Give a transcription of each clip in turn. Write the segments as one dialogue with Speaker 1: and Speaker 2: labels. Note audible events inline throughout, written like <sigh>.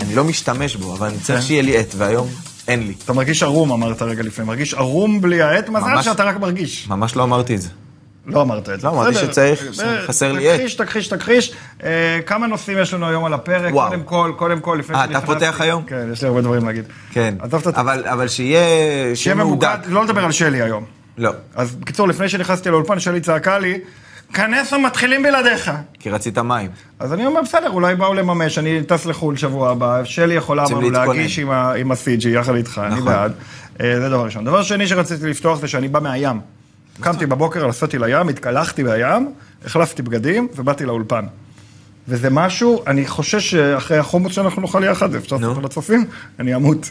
Speaker 1: אני לא משתמש בו, אבל אני
Speaker 2: כן.
Speaker 1: צריך שיהיה לי עט, והיום אין לי.
Speaker 2: אתה מרגיש ערום, אמרת רגע לפני. מרגיש ערום בלי העט? מזל
Speaker 1: ממש-
Speaker 2: שאתה רק מרגיש.
Speaker 1: ממש לא אמרתי את זה.
Speaker 2: לא אמרת את זה.
Speaker 1: לא, אמרתי
Speaker 2: בסדר.
Speaker 1: שצריך,
Speaker 2: בסדר.
Speaker 1: חסר לי עט.
Speaker 2: תכחיש, תכחיש, תכחיש. אה, כמה נושאים יש לנו היום על הפרק?
Speaker 1: וואו.
Speaker 2: קודם כל, קודם כל, לפני
Speaker 1: אה, אתה פותח היום?
Speaker 2: כן, יש לי הרבה דברים להגיד.
Speaker 1: כן.
Speaker 2: עזוב את ה...
Speaker 1: אבל אבל שיהיה...
Speaker 2: שיהיה ממוקד, לא נדבר על שלי היום.
Speaker 1: לא,
Speaker 2: אז בקיצור, לפני שנכנסתי לאולפן, שלי צעקה לי, כנס המתחילים בלעדיך.
Speaker 1: כי רצית מים.
Speaker 2: אז אני אומר, בסדר, אולי באו לממש, אני טס לחו"ל שבוע הבא, שלי יכולה
Speaker 1: רוצים
Speaker 2: אמרנו
Speaker 1: להתכונן.
Speaker 2: להגיש עם ה- עם ה-CG יחד איתך, אני
Speaker 1: נכון.
Speaker 2: בעד. אה, זה דבר ראשון. דבר שני שרציתי לפתוח זה שאני בא מהים. קמתי בבוקר, נסעתי לים, התקלחתי בים, החלפתי בגדים ובאתי לאולפן. וזה משהו, אני חושש שאחרי החומוס שאנחנו נאכל יחד, אפשר
Speaker 1: נו.
Speaker 2: לעשות לצופים, אני אמות.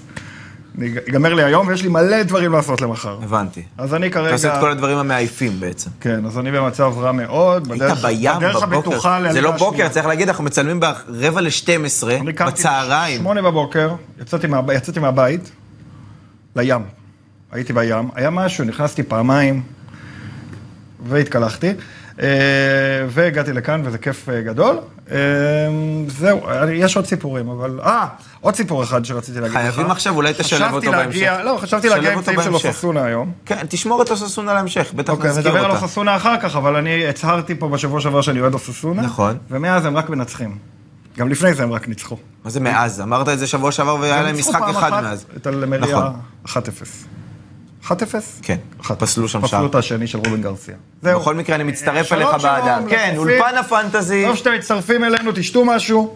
Speaker 2: אני- ייגמר לי היום ויש לי מלא דברים לעשות למחר.
Speaker 1: הבנתי.
Speaker 2: אז אני כרגע...
Speaker 1: אתה עושה את כל הדברים המעייפים בעצם.
Speaker 2: כן, אז אני במצב רע מאוד.
Speaker 1: היית בים
Speaker 2: בדרך הבטוחה
Speaker 1: בבוקר,
Speaker 2: ללידה
Speaker 1: זה לא
Speaker 2: השנייה.
Speaker 1: בוקר, צריך להגיד, אנחנו מצלמים ברבע ל-12,
Speaker 2: אני קמתי
Speaker 1: בצהריים.
Speaker 2: שמונה בבוקר, יצאתי, מה, יצאתי מהבית לים. הייתי בים, היה משהו, נכנסתי פעמיים והתקלחתי. אה, והגעתי לכאן, וזה כיף אה, גדול. אה, זהו, אה, יש עוד סיפורים, אבל... אה, עוד סיפור אחד שרציתי להגיד לך.
Speaker 1: חייבים עכשיו, אולי תשלב
Speaker 2: חשבתי
Speaker 1: אותו
Speaker 2: להגיע-
Speaker 1: בהמשך.
Speaker 2: לא, חשבתי
Speaker 1: תשלב
Speaker 2: להגיע עם
Speaker 1: אותו
Speaker 2: סעיף של
Speaker 1: בהמשך.
Speaker 2: אוססונה היום.
Speaker 1: כן, תשמור את אוססונה להמשך, בטח
Speaker 2: אוקיי,
Speaker 1: נזכיר
Speaker 2: נדבר על
Speaker 1: אותה.
Speaker 2: אוססונה אחר כך, אבל אני הצהרתי פה בשבוע שעבר שאני אוהד אוססונה.
Speaker 1: נכון.
Speaker 2: ומאז הם רק מנצחים. גם לפני זה הם רק ניצחו.
Speaker 1: מה זה מאז? אמרת את זה שבוע שעבר והיה להם משחק אחד מאז.
Speaker 2: את הלמריה
Speaker 1: נכון.
Speaker 2: 1-0. 1-0?
Speaker 1: כן,
Speaker 2: 1-0.
Speaker 1: פסלו שם שער.
Speaker 2: פסלו את השני של רובן גרסיה.
Speaker 1: בכל מקרה, אני מצטרף
Speaker 2: שלום,
Speaker 1: אליך
Speaker 2: שלום,
Speaker 1: באהדה. כן,
Speaker 2: לצופים.
Speaker 1: אולפן הפנטזי.
Speaker 2: טוב שאתם מצטרפים אלינו, תשתו משהו.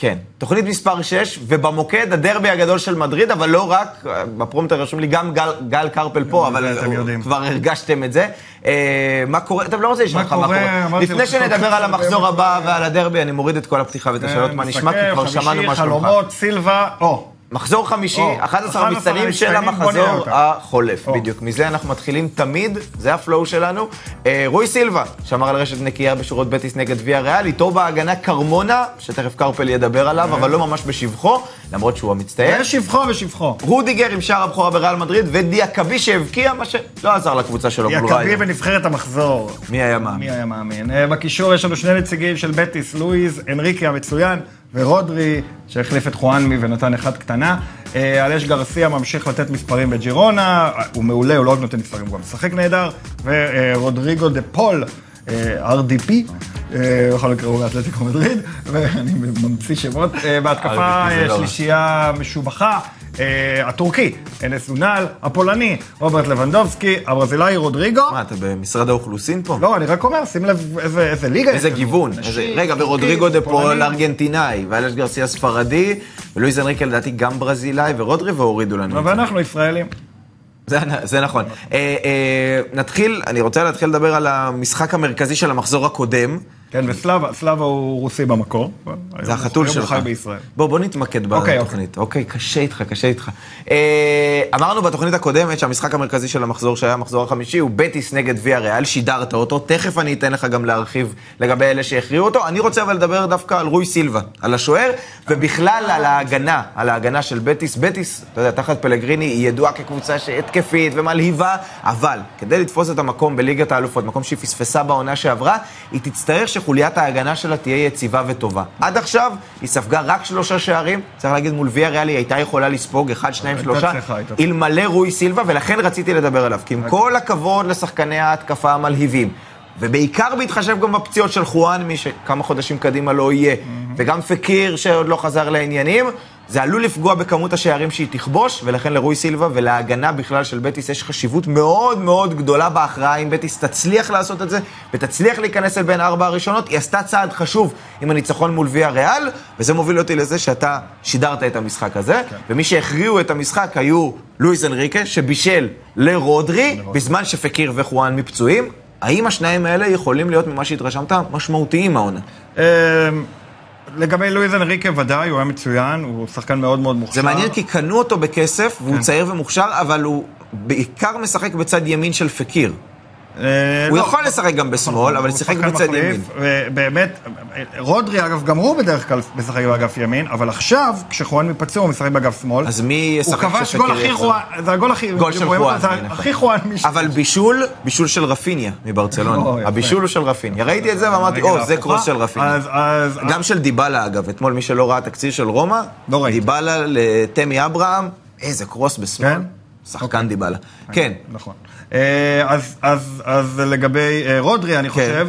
Speaker 1: כן, תוכנית מספר 6, ובמוקד הדרבי הגדול של מדריד, אבל לא רק, בפרומטר רשום לי גם גל, גל קרפל פה, אבל
Speaker 2: אתם
Speaker 1: הוא-
Speaker 2: יודעים.
Speaker 1: כבר הרגשתם את זה. אה, מה קורה? טוב, לא רוצה לשאול
Speaker 2: מה
Speaker 1: לך מה
Speaker 2: קורה?
Speaker 1: קורה.
Speaker 2: אמרתי
Speaker 1: לפני
Speaker 2: לך,
Speaker 1: שנדבר
Speaker 2: טוב,
Speaker 1: על
Speaker 2: טוב,
Speaker 1: המחזור
Speaker 2: טוב,
Speaker 1: הבא ועל הדרבי, אני מוריד את כל הפתיחה ואת
Speaker 2: כן,
Speaker 1: השאלות מה נשמע, כי
Speaker 2: משחק,
Speaker 1: כבר שמענו
Speaker 2: אה, חמישי,
Speaker 1: משהו ממך. אה?
Speaker 2: חלומות, סילבה, או.
Speaker 1: מחזור חמישי,
Speaker 2: או,
Speaker 1: 11
Speaker 2: 11
Speaker 1: המצטיינים של
Speaker 2: המצטיינים, בוא נראה
Speaker 1: המחזור
Speaker 2: אותם.
Speaker 1: החולף,
Speaker 2: או.
Speaker 1: בדיוק. מזה אנחנו מתחילים תמיד, זה הפלואו שלנו. אה, רוי סילבה, שמר על רשת נקייה בשורות בטיס נגד ויה ריאל, איתו בהגנה קרמונה, שתכף קרפל ידבר עליו, אבל לא ממש בשבחו, למרות שהוא המצטיין.
Speaker 2: אה. יש אה, שבחו ושבחו.
Speaker 1: רודיגר עם שער הבכורה בריאל מדריד, ודיאקבי שהבקיע, מה שלא עזר לקבוצה שלו. אבל הוא לא
Speaker 2: יקבי
Speaker 1: היה.
Speaker 2: בנבחרת המחזור.
Speaker 1: מי היה מאמין?
Speaker 2: מי היה מאמין? אה, בקישור יש לנו שני נציגים של בטיס, לואיז, הנריקי המצוין, ורודרי, שהחליף את חואנמי ונתן אחד קטנה. אה, אלש גרסיה ממשיך לתת מספרים בג'ירונה, אה, הוא מעולה, הוא לא רק נותן מספרים, הוא גם משחק נהדר. ורודריגו דה פול, אה, RDP, אה, יכול לקרוא באתלטיקו מדריד, <laughs> ואני ממציא שמות. אה, בהתקפה
Speaker 1: RDP זה
Speaker 2: אה,
Speaker 1: לא רע.
Speaker 2: שלישייה משובחה. אה, הטורקי, אנס אונל, הפולני, רוברט לבנדובסקי, הברזילאי רודריגו.
Speaker 1: מה, אתה במשרד האוכלוסין פה?
Speaker 2: לא, אני רק אומר, שים לב איזה, איזה ליגה
Speaker 1: איזה
Speaker 2: יש לנו.
Speaker 1: גיוון.
Speaker 2: נשים,
Speaker 1: איזה- רגע,
Speaker 2: טורקים,
Speaker 1: ורודריגו דה פול
Speaker 2: פולנים.
Speaker 1: ארגנטינאי, ואלש גרסיה ספרדי, ולואיז אנריקה לדעתי גם ברזילאי, ורודרי, והורידו לנו את זה.
Speaker 2: ואנחנו ישראלים.
Speaker 1: זה, זה נכון. אה, אה, נתחיל, אני רוצה להתחיל לדבר על המשחק המרכזי של המחזור הקודם.
Speaker 2: כן, וסלאבה, סלאבה הוא רוסי במקור.
Speaker 1: זה החתול
Speaker 2: היום
Speaker 1: שלך.
Speaker 2: הוא חי בישראל.
Speaker 1: בוא, בוא נתמקד
Speaker 2: אוקיי,
Speaker 1: בתוכנית. אוקיי, קשה איתך, קשה איתך. אה, אמרנו בתוכנית הקודמת שהמשחק המרכזי של המחזור, שהיה המחזור החמישי, הוא בטיס נגד ויה ריאל, שידרת אותו. תכף אני אתן לך גם להרחיב לגבי אלה שהכריעו אותו. אני רוצה אבל לדבר דווקא על רוי סילבה, על השוער, ובכלל על ההגנה, על ההגנה של בטיס. בטיס, אתה יודע, תחת פלגריני, היא ידועה כקבוצה שהתקפית ומלהיבה, אבל כדי לתפוס את המקום בליגת האלופות, מקום שהיא פספסה בעונה שעברה, היא תצטרך שחוליית ההגנה שלה תהיה יציבה וטובה. עד עכשיו היא ספגה רק שלושה שערים, צריך להגיד מול ויה ריאל היא הייתה יכולה לספוג אחד, שניים,
Speaker 2: הייתה
Speaker 1: שלושה,
Speaker 2: צריכה, הייתה צריכה.
Speaker 1: אלמלא רוי סילבה, ולכן רציתי לדבר עליו, כי עם כל הכבוד לשחקני ההתקפה המלהיבים, ובעיקר בהתחשב גם בפציעות של חואנמי, שכמה חודשים קדימה לא יהיה, וגם פקיר, שעוד לא חזר לעניינים, זה עלול לפגוע בכמות השערים שהיא תכבוש, ולכן לרוי סילבה ולהגנה בכלל של בטיס יש חשיבות מאוד מאוד גדולה בהכרעה, אם בטיס תצליח לעשות את זה, ותצליח להיכנס אל בין ארבע הראשונות, היא עשתה צעד חשוב עם הניצחון מול ויה ריאל, וזה מוביל אותי לזה שאתה שידרת את המשחק הזה,
Speaker 2: כן.
Speaker 1: ומי שהכריעו את המשחק היו לואיס אנריקה, שבישל לרודרי, בזמן שפקיר וחואן מפצועים. האם השניים האלה יכולים להיות, ממה שהתרשמת, משמעותיים העונה?
Speaker 2: אמ, לגבי לואיז אנריקה ודאי, הוא היה מצוין, הוא שחקן מאוד מאוד מוכשר.
Speaker 1: זה מעניין כי קנו אותו
Speaker 2: כן.
Speaker 1: בכסף, והוא צעיר ומוכשר, אבל הוא בעיקר משחק בצד ימין של פקיר.
Speaker 2: אה,
Speaker 1: הוא
Speaker 2: לא.
Speaker 1: יכול לשחק גם בשמאל, אבל
Speaker 2: הוא
Speaker 1: שיחק
Speaker 2: שחקן
Speaker 1: בצד
Speaker 2: מחליף,
Speaker 1: ימין.
Speaker 2: ובאמת, רודרי אגב, גם הוא בדרך כלל משחק באגף ימין, אבל עכשיו, כשחואן מפצוע, הוא משחק באגף שמאל.
Speaker 1: אז מי
Speaker 2: הוא
Speaker 1: ישחק
Speaker 2: כבש
Speaker 1: כשפקר
Speaker 2: גול הכי
Speaker 1: יחזור?
Speaker 2: חואן, זה הגול הכי...
Speaker 1: גול של
Speaker 2: רואים אותו,
Speaker 1: חואן,
Speaker 2: זה
Speaker 1: נכון.
Speaker 2: הכי חואן מישהו.
Speaker 1: אבל בישול, בישול של רפיניה
Speaker 2: או,
Speaker 1: מברצלונה.
Speaker 2: יפה.
Speaker 1: הבישול הוא של רפיניה. ראיתי את זה ואמרתי,
Speaker 2: רגל
Speaker 1: או, זה
Speaker 2: ההפוכה.
Speaker 1: קרוס של רפיניה.
Speaker 2: אז- אז...
Speaker 1: גם של דיבלה, אגב. אתמול, מי שלא ראה תקציר של רומא,
Speaker 2: לא ראיתי.
Speaker 1: דיבלה לתמי אברהם, איזה קרוס
Speaker 2: כן? אוקיי.
Speaker 1: בשמאל. שחקן דיבלה. כן.
Speaker 2: נכון. אה, אז, אז, אז לגבי אה, רודרי,
Speaker 1: כן.
Speaker 2: אני חושב,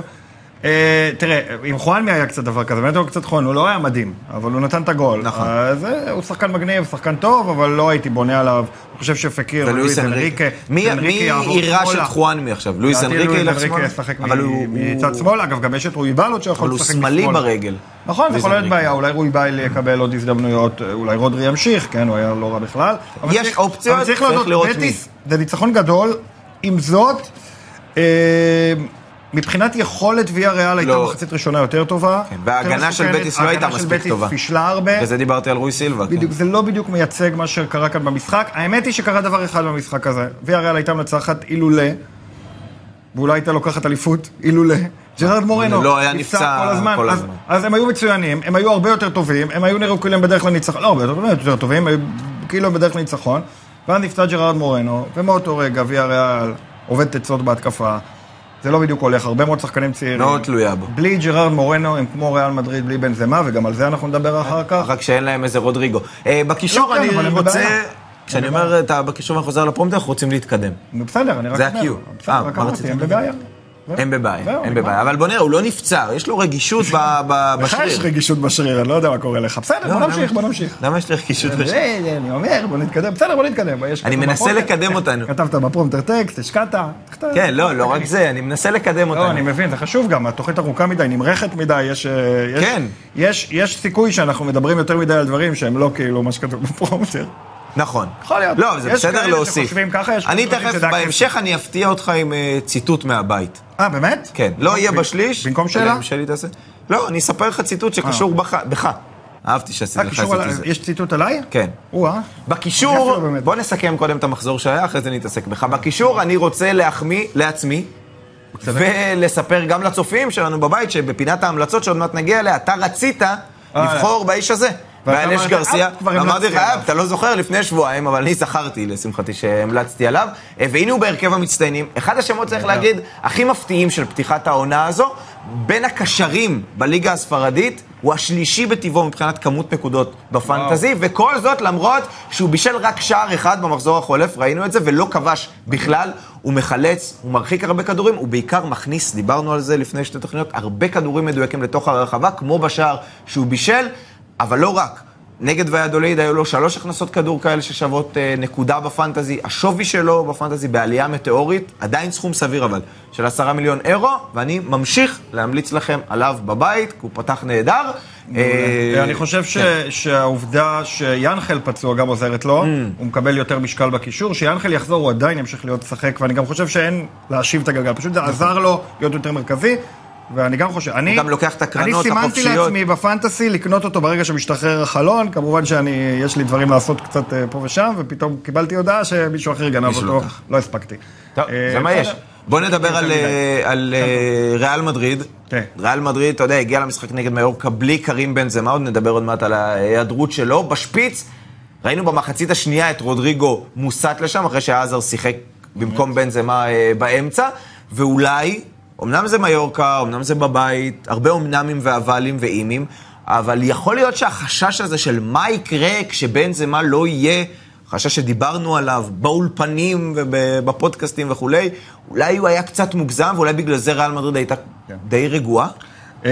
Speaker 2: אה, תראה, עם חואנמי היה קצת דבר כזה, באמת הוא קצת חואן, הוא לא היה מדהים, אבל הוא נתן את הגול.
Speaker 1: נכון.
Speaker 2: אז אה, הוא שחקן מגניב, שחקן טוב, אבל לא הייתי בונה עליו. אני חושב שפקיר
Speaker 1: ולואיס אנריקה. מי מי יירש את חואנמי עכשיו? לואיס
Speaker 2: לדעתי
Speaker 1: אנריקה
Speaker 2: לואיס
Speaker 1: ילך
Speaker 2: אנריקה
Speaker 1: שמאלה?
Speaker 2: ישחק
Speaker 1: אבל הוא-
Speaker 2: מ-
Speaker 1: הוא-
Speaker 2: מצד שמאל, אגב, גם יש את רואיבלות שיכול
Speaker 1: אבל הוא
Speaker 2: לשחק
Speaker 1: שמאלי
Speaker 2: משמאל.
Speaker 1: ברגל.
Speaker 2: נכון, זה
Speaker 1: לואיס
Speaker 2: יכול להיות
Speaker 1: אנריקה.
Speaker 2: בעיה, אולי רואיבל יקבל עוד הזדמנויות, אולי רודרי ימשיך, כן, הוא היה לא רע בכלל. אבל
Speaker 1: יש
Speaker 2: צריך-
Speaker 1: אופציות,
Speaker 2: אבל צריך
Speaker 1: צריך
Speaker 2: להודות,
Speaker 1: לראות מי.
Speaker 2: בטיס זה ניצחון גדול, עם זאת, אה, מבחינת יכולת ויה ריאל הייתה
Speaker 1: לא. כן,
Speaker 2: מחצית ראשונה יותר טובה.
Speaker 1: וההגנה של
Speaker 2: מסוכנת,
Speaker 1: בטיס לא הייתה
Speaker 2: ההגנה של
Speaker 1: מספיק
Speaker 2: בטיס
Speaker 1: טובה.
Speaker 2: פישלה הרבה.
Speaker 1: בגלל זה דיברתי על רוי סילבה. כן.
Speaker 2: בדיוק, זה לא בדיוק מייצג מה שקרה כאן במשחק. האמת היא שקרה דבר אחד במשחק הזה. ויה ריאל הייתה מנצחת אילולא, ואולי הייתה לוקחת אליפות, אילולא. ג'רארד מורנו,
Speaker 1: לא, היה נפצע
Speaker 2: כל הזמן.
Speaker 1: כל
Speaker 2: אז-
Speaker 1: הזמן.
Speaker 2: אז הם היו מצוינים, הם היו הרבה יותר טובים, הם היו נראו כאילו הם בדרך לניצחון, לא הרבה יותר טובים, יותר טובים, היו כאילו הם בדרך לניצחון. ואז נפצע ג'רארד מורנו, ומאותו רגע ויה ריאל עובדת עצות בהתקפה. זה לא בדיוק הולך, הרבה מאוד שחקנים צעירים.
Speaker 1: מאוד לא תלויה בו.
Speaker 2: בלי ג'רארד מורנו הם כמו ריאל מדריד, בלי בנזמה, וגם על זה אנחנו נדבר אחר כך.
Speaker 1: רק שאין להם איזה רודריגו. אה,
Speaker 2: לא,
Speaker 1: בקישור
Speaker 2: כן,
Speaker 1: אני
Speaker 2: אבל הם בבעיה.
Speaker 1: רוצה... כשאני אומר את בקישור ואני חוזר לפרומטר, אנחנו רוצים להתקדם.
Speaker 2: נו, בסדר, אני רק...
Speaker 1: זה
Speaker 2: אומר.
Speaker 1: ה-Q.
Speaker 2: בסדר,
Speaker 1: אה,
Speaker 2: רק
Speaker 1: מה
Speaker 2: אמרתי,
Speaker 1: רצית?
Speaker 2: הם בבעיה.
Speaker 1: הם
Speaker 2: זהו,
Speaker 1: בבעיה, הם
Speaker 2: נגמר.
Speaker 1: בבעיה. אבל בוא נראה, הוא לא נפצע, יש לו רגישות ב- ב-
Speaker 2: לך יש
Speaker 1: בשריר.
Speaker 2: רגישות בשריר, אני לא יודע מה קורה לך. בסדר, בוא
Speaker 1: למה?
Speaker 2: נמשיך, בוא נמשיך.
Speaker 1: למה יש לי רגישות בשריר?
Speaker 2: זה, זה, אני אומר, בוא נתקדם, בסדר, בוא נתקדם. יש
Speaker 1: אני
Speaker 2: כתוב
Speaker 1: מנסה
Speaker 2: בפרומטר,
Speaker 1: לקדם אותנו.
Speaker 2: כתבת בפרומטר טקסט, השקעת. תכתב.
Speaker 1: כן, לא, לא רק זה, אני מנסה לקדם
Speaker 2: לא, אני
Speaker 1: אותנו.
Speaker 2: מבין, זה חשוב גם, התוכנית ארוכה מדי, נמרחת מדי, יש... אה, יש-
Speaker 1: כן.
Speaker 2: יש יש סיכוי שאנחנו מדברים יותר מדי על דברים שהם לא כאילו מה שכתוב בפרומטר.
Speaker 1: נכון.
Speaker 2: יכול להיות.
Speaker 1: לא, זה
Speaker 2: יש
Speaker 1: בסדר
Speaker 2: כאלה
Speaker 1: להוסיף.
Speaker 2: שחושבים ככה, יש
Speaker 1: אני
Speaker 2: כאלה שחושבים
Speaker 1: תכף,
Speaker 2: שזה הכיף.
Speaker 1: בהמשך אני אפתיע אותך עם אה, ציטוט מהבית.
Speaker 2: אה, באמת?
Speaker 1: כן, לא יהיה
Speaker 2: ב-
Speaker 1: בשליש.
Speaker 2: במקום
Speaker 1: אלא
Speaker 2: שאלה?
Speaker 1: אם שלי תעשה. לא, אני אספר לך ציטוט שקשור בך- בך. אהבתי שעשיתי
Speaker 2: אה,
Speaker 1: לך
Speaker 2: קישור
Speaker 1: ציטוט.
Speaker 2: עליי-
Speaker 1: הזה.
Speaker 2: יש ציטוט עליי?
Speaker 1: כן.
Speaker 2: או-אה.
Speaker 1: בקישור,
Speaker 2: יפה, באמת.
Speaker 1: בוא נסכם קודם את המחזור שהיה, אחרי זה נתעסק בך. בקישור אני רוצה להחמיא לעצמי, ולספר גם לצופים שלנו בבית, שבפינת ההמלצות שעוד מעט נגיע אליה, אתה רצית לבחור באיש הזה.
Speaker 2: אה, ואתה
Speaker 1: ועל אש
Speaker 2: אמרת,
Speaker 1: גרסיה,
Speaker 2: "אפ, כבר
Speaker 1: ואמרתי
Speaker 2: המלצתי
Speaker 1: לך, "אפ,
Speaker 2: עליו".
Speaker 1: אתה לא זוכר לפני שבועיים, אבל אני זכרתי, לשמחתי, שהמלצתי עליו. אה, והנה הוא בהרכב המצטיינים. אחד השמות, צריך להגיד, הכי מפתיעים של פתיחת העונה הזו, בין הקשרים בליגה הספרדית, הוא השלישי בטבעו מבחינת כמות נקודות בפנטזי, וכל זאת למרות שהוא בישל רק שער אחד במחזור החולף, ראינו את זה, ולא כבש בכלל. הוא מחלץ, הוא מרחיק הרבה כדורים, הוא בעיקר מכניס, דיברנו על זה לפני שתי תוכניות, הרבה כדורים מדויקים לתוך הרחבה, כמו בשער שהוא בישל, אבל לא רק. נגד ויאדוליד היו לו שלוש הכנסות כדור כאלה ששוות אה, נקודה בפנטזי. השווי שלו בפנטזי בעלייה מטאורית, עדיין סכום סביר אבל, של עשרה מיליון אירו, ואני ממשיך להמליץ לכם עליו בבית, כי הוא פתח נהדר. אה,
Speaker 2: אני חושב ש- שהעובדה שיאנחל פצוע גם עוזרת
Speaker 1: Mm.
Speaker 2: לו, הוא מקבל יותר משקל בקישור, שיאנחל יחזור הוא עדיין ימשיך להיות משחק, ואני גם חושב שאין להשיב את הגלגל, פשוט זה עזר לו להיות יותר מרכזי, ואני גם חושב, אני...
Speaker 1: גם לוקח את הקרנות
Speaker 2: אני סימנתי
Speaker 1: החופשיות.
Speaker 2: לעצמי בפנטסי לקנות אותו ברגע שמשתחרר החלון, כמובן שאני, יש לי דברים לעשות קצת אה, פה ושם, ופתאום קיבלתי הודעה שמישהו אחר גנב
Speaker 1: מישהו
Speaker 2: אותו,
Speaker 1: לקח.
Speaker 2: לא הספקתי.
Speaker 1: טוב,
Speaker 2: אה,
Speaker 1: זה מה
Speaker 2: בסדר.
Speaker 1: יש. בואו נדבר על, אה, על אה, ריאל מדריד.
Speaker 2: כן.
Speaker 1: ריאל מדריד, אתה יודע, הגיע למשחק נגד מיורקה בלי קרים בנזמה, עוד נדבר עוד מעט על ההיעדרות שלו. בשפיץ, ראינו במחצית השנייה את רודריגו מוסט לשם, אחרי שעזר שיחק במקום בנזמה אה, באמצע, ואולי, אמנם זה מיורקה, אמנם זה בבית, הרבה אמנמים ואבלים ואימים, אבל יכול להיות שהחשש הזה של מה יקרה כשבנזמה לא יהיה... חשש שדיברנו עליו באולפנים ובפודקאסטים וכולי, אולי הוא היה קצת מוגזם, ואולי בגלל זה ריאל מדריד הייתה
Speaker 2: כן.
Speaker 1: די רגועה.
Speaker 2: אה,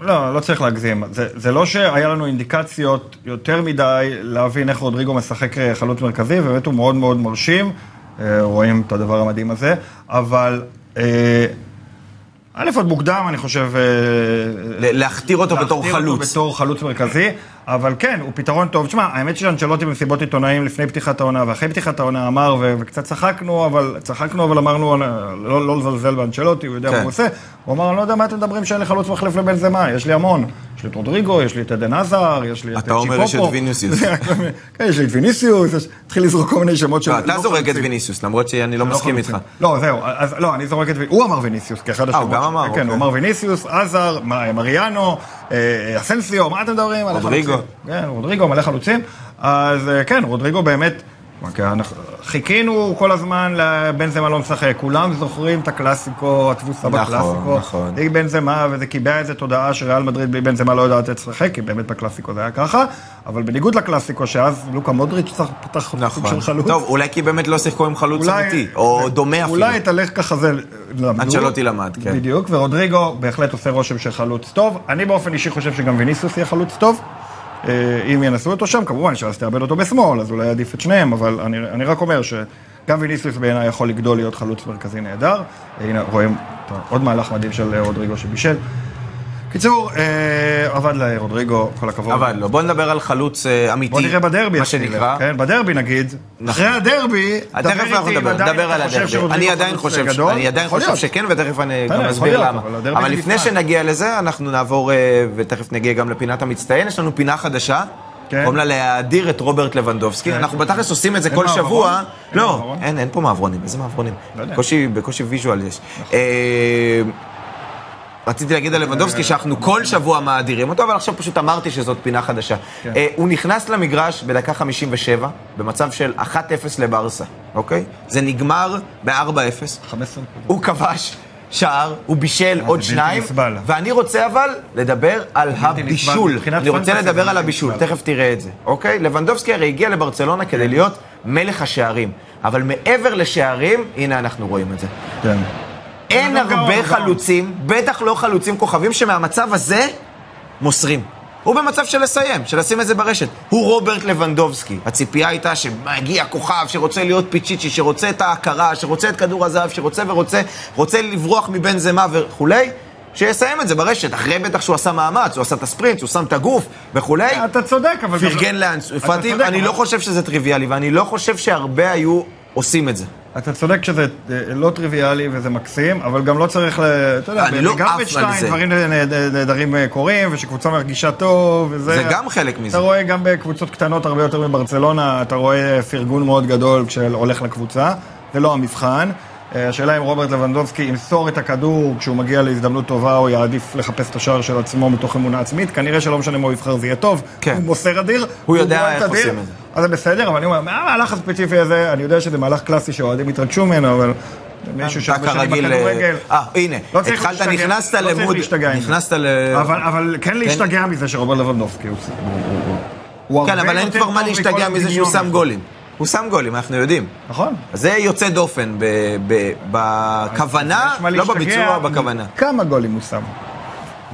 Speaker 2: לא, לא צריך להגזים. זה, זה לא שהיה לנו אינדיקציות יותר מדי להבין איך רודריגו משחק אה, חלוץ מרכזי, ובאמת הוא מאוד מאוד מרשים, אה, רואים את הדבר המדהים הזה, אבל אה, א' עוד מוקדם, אני חושב... אה,
Speaker 1: ל- להכתיר אותו בתור
Speaker 2: להכתיר אותו
Speaker 1: חלוץ.
Speaker 2: בתור חלוץ מרכזי, אבל כן, הוא פתרון טוב. תשמע, האמת שאנצ'לוטי במסיבות עיתונאים לפני פתיחת העונה ואחרי פתיחת העונה אמר, ו- וקצת צחקנו, אבל צחקנו, אבל אמרנו "אה, לא, לא לזלזל באנצ'לוטי, הוא יודע
Speaker 1: כן.
Speaker 2: מה הוא עושה. הוא אמר, אני לא יודע מה אתם מדברים שאין לי חלוץ מחליף לבנזמה, יש לי המון. יש לי את רודריגו, יש לי את עדן עזר, יש לי את
Speaker 1: אתה אומר, יש את ויניסיוס.
Speaker 2: <laughs> כן, יש לי את ויניסיוס, יש- התחיל לזרוק כל מיני שמות של...
Speaker 1: לא, אתה זורק את ויניסיוס, למרות שאני לא מסכים איתך.
Speaker 2: לא, זהו, אז לא, אני זורק את... ו- הוא אמר ויניסיוס כאחד השמות.
Speaker 1: הוא גם
Speaker 2: שלו.
Speaker 1: אמר,
Speaker 2: כן,
Speaker 1: אוקיי.
Speaker 2: הוא אמר ויניסיוס, עזר, מ- מריאנו, אה, אסנסיו, מה אתם מדברים? מלא
Speaker 1: רודריגו.
Speaker 2: חלוצים. כן, רודריגו, מלא חלוצים. אז אה, כן, רודריגו באמת, כי אנחנו- חיכינו כל הזמן לבנזמה לא משחק. כולם זוכרים את הקלאסיקו, התבוסה
Speaker 1: נכון,
Speaker 2: בקלאסיקו.
Speaker 1: נכון.
Speaker 2: בלי בנזמה, וזה קיבע איזה תודעה שריאל מדריד בלי בנזמה לא יודעת לשחק, כי באמת בקלאסיקו זה היה ככה, אבל בניגוד לקלאסיקו, שאז לוקה מודריץ' צריך- פתח סוג
Speaker 1: נכון.
Speaker 2: של חלוץ.
Speaker 1: טוב, אולי כי באמת לא שיחקו עם חלוץ
Speaker 2: אולי-
Speaker 1: אמיתי, או דומה אפילו.
Speaker 2: אולי את הלקח הזה למדו.
Speaker 1: עד שלא תילמד, כן.
Speaker 2: בדיוק, ורודריגו בהחלט עושה רושם של חלוץ טוב. אני באופן אישי חושב שגם ויניסוס יהיה חלוץ טוב. אה, אם ינסו אותו שם, כמובן שאז תאבד אותו לא בשמאל, אז אולי עדיף את שניהם, אבל אני, אני רק אומר שגם ויניסוס בעיניי יכול לגדול להיות חלוץ מרכזי נהדר. אה, הנה, רואים את עוד מהלך מדהים של אה, רודריגו שבישל. קיצור, אה, עבד לרודריגו, כל הכבוד.
Speaker 1: אבל לא. בוא נדבר על חלוץ אה, אמיתי.
Speaker 2: בוא נראה בדרבי.
Speaker 1: מה
Speaker 2: איך זה ילך.
Speaker 1: שנקרא.
Speaker 2: כן, בדרבי נגיד.
Speaker 1: נכון.
Speaker 2: אחרי הדרבי,
Speaker 1: אז תכף אנחנו נדבר, נדבר על הדרבי. אני עדיין חושב, ש- אני עדיין חושב שכן, ותכף אני
Speaker 2: בסדר,
Speaker 1: גם
Speaker 2: יכול
Speaker 1: אסביר
Speaker 2: להיות,
Speaker 1: למה.
Speaker 2: אבל הדרבי
Speaker 1: אבל
Speaker 2: זה
Speaker 1: לפני
Speaker 2: נפרד.
Speaker 1: שנגיע לזה, אנחנו נעבור, אה, ותכף נגיע גם לפינת המצטיין, יש לנו פינה חדשה.
Speaker 2: כן.
Speaker 1: קוראים לה להאדיר את רוברט לבנדובסקי. אנחנו בתכלס עושים את זה
Speaker 2: אין
Speaker 1: כל
Speaker 2: מעברון?
Speaker 1: שבוע.
Speaker 2: אין
Speaker 1: לא,
Speaker 2: מעברון?
Speaker 1: אין, אין פה מעברונים. איזה מעברונים?
Speaker 2: לא יודע. נכון.
Speaker 1: קושי- בקושי ויז'ואל יש. אה, רציתי להגיד על לבנדובסקי שאנחנו כל שבוע מאדירים אותו, אבל עכשיו פשוט אמרתי שזאת פינה חדשה.
Speaker 2: כן.
Speaker 1: אה, הוא נכנס למגרש בדקה 57, במצב של 1-0 לברסה, אוקיי? זה נגמר ב-4-0.
Speaker 2: 15
Speaker 1: הוא כבש שער, הוא בישל עוד
Speaker 2: אה, בלתי
Speaker 1: שניים,
Speaker 2: נסבל.
Speaker 1: ואני רוצה אבל לדבר על
Speaker 2: נסבל.
Speaker 1: הבישול.
Speaker 2: מבחינת
Speaker 1: אני רוצה
Speaker 2: פנטזיה זה
Speaker 1: לדבר על
Speaker 2: בלתי
Speaker 1: הבישול,
Speaker 2: נסבל. כן.
Speaker 1: תכף תראה את זה, אוקיי? לבנדובסקי הרי הגיע לברצלונה כדי להיות מלך השערים, אבל מעבר לשערים, הנה אנחנו רואים את זה.
Speaker 2: כן.
Speaker 1: אין
Speaker 2: אדם גאון,
Speaker 1: הרבה
Speaker 2: גאון.
Speaker 1: חלוצים, בטח לא חלוצים כוכבים, שמהמצב הזה מוסרים. הוא במצב של לסיים, של לשים את זה ברשת. הוא רוברט לבנדובסקי. הציפייה הייתה שמגיע כוכב שרוצה להיות פיצ'יצ'י, שרוצה את ההכרה, שרוצה את כדור הזהב, שרוצה ורוצה, רוצה לברוח מבן זמה וכולי, שיסיים את זה ברשת. אחרי בטח שהוא עשה מאמץ, הוא עשה את הספרינט, הוא שם את הגוף וכולי.
Speaker 2: אתה צודק, אבל...
Speaker 1: פרגן לאנס.
Speaker 2: אתה
Speaker 1: פאטי,
Speaker 2: צודק,
Speaker 1: אני
Speaker 2: אבל-
Speaker 1: לא חושב שזה טריוויאלי, ואני לא חושב שהרבה היו עושים את זה.
Speaker 2: אתה צודק שזה אה, לא טריוויאלי וזה מקסים, אבל גם לא צריך ל... אתה יודע,
Speaker 1: אני לא עף על
Speaker 2: בגרבג'טיין
Speaker 1: זה.
Speaker 2: דברים נה- נה- נהדרים אה, קורים, ושקבוצה מרגישה טוב, וזה...
Speaker 1: זה גם חלק מזה.
Speaker 2: אתה רואה גם בקבוצות קטנות הרבה יותר מברצלונה, אתה רואה פרגון מאוד גדול כשהולך לקבוצה, זה לא המבחן. אה, השאלה אם רוברט לבנדובסקי ימסור את הכדור כשהוא מגיע להזדמנות טובה, או יעדיף לחפש את השער של עצמו מתוך אמונה עצמית, כנראה שלא משנה מה הוא יבחר, זה יהיה טוב.
Speaker 1: כן.
Speaker 2: הוא מוסר אדיר,
Speaker 1: יודע
Speaker 2: בועט
Speaker 1: איך
Speaker 2: אדיר,
Speaker 1: עושים את זה.
Speaker 2: אז זה בסדר, אבל אני אומר, מה המהלך הספציפי הזה, אני יודע שזה מהלך קלאסי שהאוהדים התרגשו ממנו, אבל מישהו
Speaker 1: כן. אתה
Speaker 2: שהרבה שנים
Speaker 1: כרגיל...
Speaker 2: בכדורגל...
Speaker 1: אה, הנה,
Speaker 2: לא צריך
Speaker 1: התחלת,
Speaker 2: להשתגע-
Speaker 1: נכנסת
Speaker 2: לא צריך
Speaker 1: למוד...
Speaker 2: להשתגע עם זה.
Speaker 1: נכנסת ל...
Speaker 2: אבל, אבל כן להשתגע מזה שרוברט לבנדובסקי הוא... הוא
Speaker 1: כן,
Speaker 2: הרבה
Speaker 1: אבל אין
Speaker 2: יותר
Speaker 1: כבר מה
Speaker 2: טוב
Speaker 1: להשתגע
Speaker 2: מכל
Speaker 1: מזה שהוא
Speaker 2: דמיון
Speaker 1: שם
Speaker 2: הזה.
Speaker 1: גולים. הוא שם גולים, אנחנו יודעים.
Speaker 2: נכון.
Speaker 1: אז זה יוצא דופן ב- ב- בכוונה,
Speaker 2: יש מה
Speaker 1: לא
Speaker 2: להשתגע
Speaker 1: בביצוע, בכוונה.
Speaker 2: כמה גולים הוא שם.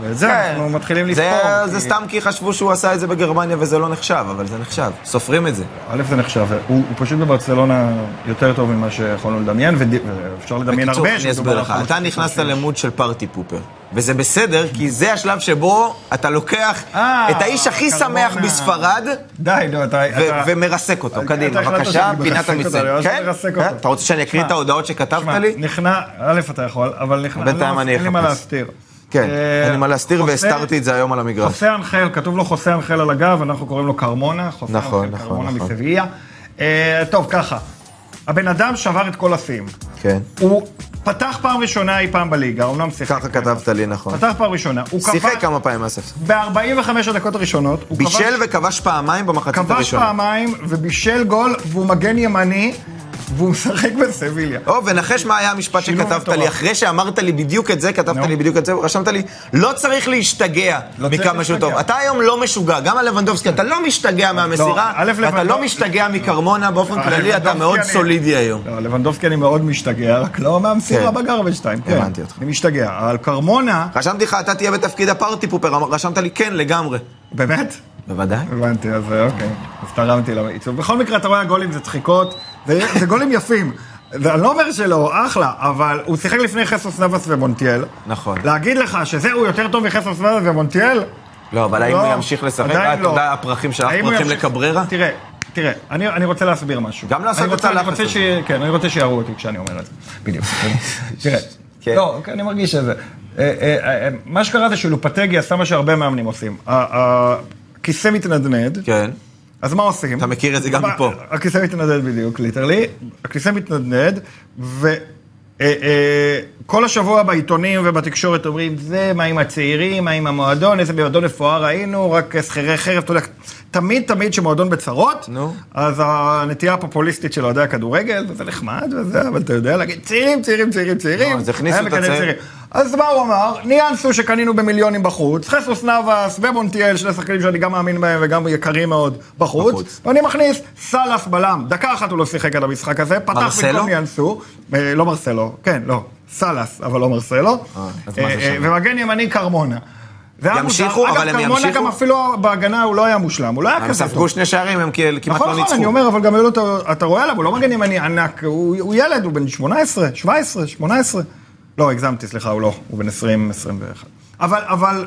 Speaker 2: ואת זה
Speaker 1: כן.
Speaker 2: אנחנו מתחילים
Speaker 1: זה-
Speaker 2: לספור.
Speaker 1: זה
Speaker 2: כי-
Speaker 1: סתם כי חשבו שהוא עשה את זה בגרמניה וזה לא נחשב, אבל זה נחשב. סופרים את זה.
Speaker 2: א', זה נחשב, הוא, הוא פשוט בברצלונה יותר טוב ממה שיכולנו לדמיין, וד- ואפשר לדמיין
Speaker 1: בקיצור,
Speaker 2: הרבה.
Speaker 1: אני
Speaker 2: שמדובר
Speaker 1: אסביר
Speaker 2: על
Speaker 1: לך.
Speaker 2: חלוץ
Speaker 1: אתה
Speaker 2: של
Speaker 1: נכנסת
Speaker 2: שלושים.
Speaker 1: למוד של פארטי פופר. וזה בסדר, כי זה השלב שבו אתה לוקח
Speaker 2: אה,
Speaker 1: את האיש הכי שמח
Speaker 2: קרבונה.
Speaker 1: בספרד,
Speaker 2: די, נו, אתה...
Speaker 1: ו-
Speaker 2: אתה-
Speaker 1: ומרסק אותו,
Speaker 2: אתה
Speaker 1: קדימה,
Speaker 2: החלטת
Speaker 1: בבקשה,
Speaker 2: שאני
Speaker 1: פינת
Speaker 2: מרסק
Speaker 1: המצטיין.
Speaker 2: אותו, אני
Speaker 1: כן?
Speaker 2: מרסק
Speaker 1: כן?
Speaker 2: אותו.
Speaker 1: אתה רוצה שאני אקריא
Speaker 2: שמע,
Speaker 1: את ההודעות שכתבת
Speaker 2: שמע,
Speaker 1: לי?
Speaker 2: נכנע, א', אתה יכול, אבל נכנע,
Speaker 1: בינתיים
Speaker 2: אין לי-
Speaker 1: אני
Speaker 2: אין לי מה
Speaker 1: אחפש.
Speaker 2: להסתיר.
Speaker 1: כן,
Speaker 2: אה,
Speaker 1: אין לי מה להסתיר
Speaker 2: חוסה-
Speaker 1: והסתרתי את זה היום על המגרש.
Speaker 2: חוסה אנחל, כתוב לו חוסה אנחל על הגב, אנחנו קוראים לו קרמונה, חוסה
Speaker 1: נכון,
Speaker 2: אנחל
Speaker 1: נכון,
Speaker 2: קרמונה
Speaker 1: נכון.
Speaker 2: מסביליה. אה, טוב, ככה, הבן אדם שבר את כל השיאים.
Speaker 1: כן.
Speaker 2: הוא פתח פעם ראשונה אי פעם בליגה, אמנם שיחק.
Speaker 1: ככה כתבת לי, נכון.
Speaker 2: פתח פעם ראשונה, הוא
Speaker 1: שיחק
Speaker 2: כבש
Speaker 1: כמה פעמים מהספסל.
Speaker 2: ב-45 הדקות הראשונות, הוא כבש-
Speaker 1: בישל וכבש פעמיים במחצית
Speaker 2: כבש
Speaker 1: הראשונה.
Speaker 2: פעמיים ובישל גול, והוא מגן ימני, והוא משחק בסביליה.
Speaker 1: או, ונחש מה היה המשפט
Speaker 2: שילוב
Speaker 1: שכתבת
Speaker 2: מטורף.
Speaker 1: לי, אחרי שאמרת לי בדיוק את זה, כתבת
Speaker 2: נו.
Speaker 1: לי בדיוק את זה, רשמת לי, לא צריך להשתגע
Speaker 2: לא צריך
Speaker 1: מכמה שהוא
Speaker 2: להשתגע.
Speaker 1: טוב. אתה היום לא משוגע, גם על לבנדובסקי, אתה לא משתגע מהמסירה,
Speaker 2: א',
Speaker 1: אתה
Speaker 2: לבנדוב-
Speaker 1: לא משתגע מקרמונה, באופן
Speaker 2: אה,
Speaker 1: כללי אתה
Speaker 2: לבנדובסקי
Speaker 1: מאוד
Speaker 2: אני-
Speaker 1: סולידי היום.
Speaker 2: לא, לבנדובסקי אני מאוד משתגע, רק לא מהמסירה
Speaker 1: כן.
Speaker 2: בגרבשטיין. כן.
Speaker 1: הבנתי אותך.
Speaker 2: אני משתגע. על קרמונה,
Speaker 1: רשמתי לך, אתה תהיה בתפקיד הפארטי פופר, אמר- רשמת לי כן לגמרי.
Speaker 2: באמת?
Speaker 1: בוודאי.
Speaker 2: הבנתי, אז אה, אוקיי. אז תרמתי לעיצוב. בכל מקרה, אתה רואה, הגולים זה דחיקות, זה זה גולים יפים. ואני לא אומר שלא, אחלה, אבל הוא שיחק לפני חסוס נבס ומונטיאל.
Speaker 1: נכון.
Speaker 2: להגיד לך שזהו יותר טוב מחסוס נבס ומונטיאל?
Speaker 1: לא, אבל האם
Speaker 2: לא,
Speaker 1: הוא ימשיך לשחק?
Speaker 2: עדיין
Speaker 1: אה, אתה
Speaker 2: לא.
Speaker 1: יודע, הפרחים שלך
Speaker 2: האם הוא
Speaker 1: פרחים
Speaker 2: ימשיך-
Speaker 1: לקבררה?
Speaker 2: תראה, תראה, אני, אני רוצה להסביר משהו.
Speaker 1: גם לא לעשות
Speaker 2: אני רוצה-
Speaker 1: את הלחץ
Speaker 2: אני רוצה
Speaker 1: הזה. <laughs>
Speaker 2: ש... כן, אני רוצה שיראו אותי כשאני אומר את זה. בדיוק. תראה,
Speaker 1: כן.
Speaker 2: לא, אני מרגיש שזה. אה, אה, אה, מה שקרה זה שלופטגי עשה מה שהרבה מאמנים עושים. ה- ה- הכיסא מתנדנד,
Speaker 1: כן.
Speaker 2: אז מה עושים?
Speaker 1: אתה מכיר את זה גם
Speaker 2: אבל-
Speaker 1: מפה.
Speaker 2: הכיסא מתנדנד בדיוק, ליטרלי. הכיסא מתנדנד, ו... אה, אה, כל השבוע בעיתונים ובתקשורת אומרים, זה, מה עם הצעירים, מה עם המועדון, איזה מועדון מפואר היינו, רק שכירי חרב, אתה יודע, תמיד תמיד שמועדון בצרות,
Speaker 1: נו.
Speaker 2: אז הנטייה הפופוליסטית של אוהדי הכדורגל, וזה נחמד וזה, אבל אתה יודע להגיד, צעירים, צעירים, צעירים, צעירים.
Speaker 1: נו, לא, אז הכניסו
Speaker 2: היה
Speaker 1: את
Speaker 2: מקדם
Speaker 1: הצעיר.
Speaker 2: צעירים. אז מה הוא אמר? ניאנסו שקנינו במיליונים בחוץ, חסוס נאבס ומונטיאל, שני שחקנים שאני גם מאמין בהם וגם יקרים מאוד בחוץ.
Speaker 1: בחוץ.
Speaker 2: ואני מכניס סאלח בלם, דקה אחת הוא לא שיחק על המשחק הזה, פתח
Speaker 1: מרסלו?
Speaker 2: במקום ניאנסו, אה, לא מרסלו, כן, לא, סאלס, אבל לא מרסלו,
Speaker 1: אה, אז
Speaker 2: אה,
Speaker 1: מה זה
Speaker 2: אה,
Speaker 1: שם?
Speaker 2: ומגן ימני קרמונה. זה היה מוזר.
Speaker 1: ימשיכו, אבל הם
Speaker 2: אגב, קרמונה
Speaker 1: ימשיכו? אה,
Speaker 2: גם אפילו בהגנה הוא לא היה מושלם, הוא לא היה
Speaker 1: הם
Speaker 2: כזה
Speaker 1: ספגו שני שערים, הם כאילו כמעט
Speaker 2: נכון,
Speaker 1: לא
Speaker 2: נכון,
Speaker 1: ניצחו.
Speaker 2: אני אומר, אבל גם היו לו, את ה- אתה רואה עליו, הוא לא מגן ימני ענק, הוא הוא ילד, הוא בן 18, 17, 18. לא, הגזמתי, סליחה, הוא לא, הוא בן 20, 21. אבל, אבל,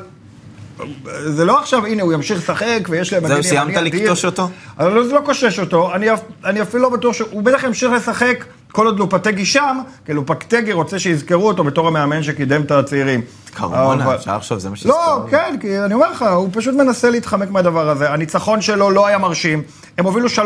Speaker 2: זה לא עכשיו, הנה, הוא ימשיך לשחק, ויש להם...
Speaker 1: זהו,
Speaker 2: מגן ימני
Speaker 1: סיימת
Speaker 2: אדיר.
Speaker 1: לקטוש אותו?
Speaker 2: אבל לא- זה לא קושש אותו, אני, אפ- אני אפילו לא בטוח שהוא בטח ימשיך לשחק כל עוד לופטגי שם, כי לופטגי רוצה שיזכרו אותו בתור המאמן שקידם את הצעירים.
Speaker 1: קרמונה,
Speaker 2: אבל-
Speaker 1: אפשר לחשוב, זה מה שהזכרנו.
Speaker 2: לא, כן, כי אני אומר לך, הוא פשוט מנסה להתחמק מהדבר הזה. הניצחון שלו לא היה מרשים. הם הובילו 3-0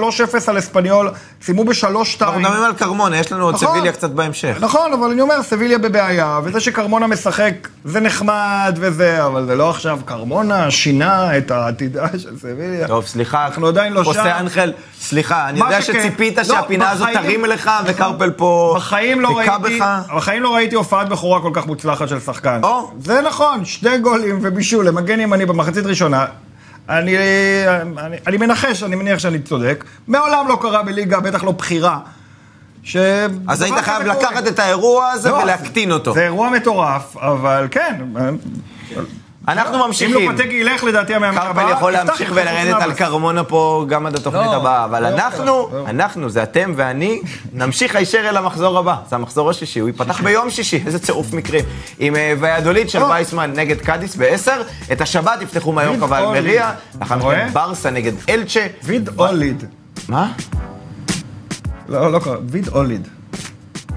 Speaker 2: על אספניול, סיימו ב-3-2.
Speaker 1: אנחנו מדברים על קרמונה, יש לנו עוד
Speaker 2: נכון.
Speaker 1: סביליה קצת בהמשך.
Speaker 2: נכון, אבל אני אומר, סביליה בבעיה, וזה שקרמונה משחק, זה נחמד וזה, אבל זה לא עכשיו קרמונה שינה את העתידה של סביליה.
Speaker 1: טוב, סליחה,
Speaker 2: אנחנו עדיין לא שם.
Speaker 1: חוסה אנחל, סליחה, אני
Speaker 2: מה
Speaker 1: יודע
Speaker 2: שכן-
Speaker 1: שציפית
Speaker 2: לא,
Speaker 1: שהפינה הזאת
Speaker 2: בחיים- נכון.
Speaker 1: תרים לך, וקרפל פה
Speaker 2: בחיים לא
Speaker 1: היכה
Speaker 2: ראיתי,
Speaker 1: בך.
Speaker 2: בחיים לא ראיתי הופעת בכורה כל כך מוצלחת של שחקן.
Speaker 1: או.
Speaker 2: זה נכון, שני גולים ובישול למגן ימני במחצית ראשונה. אני, אני, אני מנחש, אני מניח שאני צודק. מעולם לא קרה בליגה, בטח לא בחירה. ש...
Speaker 1: אז היית
Speaker 2: דבר
Speaker 1: חייב
Speaker 2: כזה קורה.
Speaker 1: לקחת את האירוע הזה
Speaker 2: לא,
Speaker 1: ולהקטין אותו.
Speaker 2: זה אירוע מטורף, אבל כן.
Speaker 1: אנחנו
Speaker 2: אם לא
Speaker 1: ממשיכים.
Speaker 2: לופטגי ילך, לדעתי המאמן הבא...
Speaker 1: קרפל יכול
Speaker 2: יפתח
Speaker 1: להמשיך
Speaker 2: את
Speaker 1: ולרדת
Speaker 2: חוץ
Speaker 1: על
Speaker 2: נאבס.
Speaker 1: קרמונה פה גם עד התוכנית
Speaker 2: לא,
Speaker 1: הבאה, אבל
Speaker 2: לא,
Speaker 1: אנחנו,
Speaker 2: לא.
Speaker 1: אנחנו, זה אתם ואני, נמשיך הישר אל המחזור הבא. זה המחזור השישי, הוא ייפתח ביום שישי, איזה צירוף מקרים. עם אה, ויאדוליד של
Speaker 2: או.
Speaker 1: וייסמן נגד קאדיס ב-10, את השבת יפתחו מהיום
Speaker 2: ויד אוליד.
Speaker 1: ואלמריה, לאחר
Speaker 2: רואה?
Speaker 1: מכן ברסה נגד אלצ'ה.
Speaker 2: ויד אוליד.
Speaker 1: מה?
Speaker 2: לא, לא קרה, ויד אוליד.